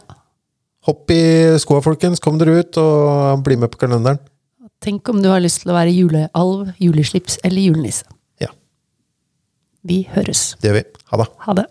[SPEAKER 1] Hopp i skoa, folkens. Kom dere ut, og bli med på kalenderen.
[SPEAKER 2] Tenk om du har lyst til å være julealv, juleslips eller julenisse.
[SPEAKER 1] Ja,
[SPEAKER 2] Vi høres.
[SPEAKER 1] det gjør vi. Ha det.
[SPEAKER 2] Ha det.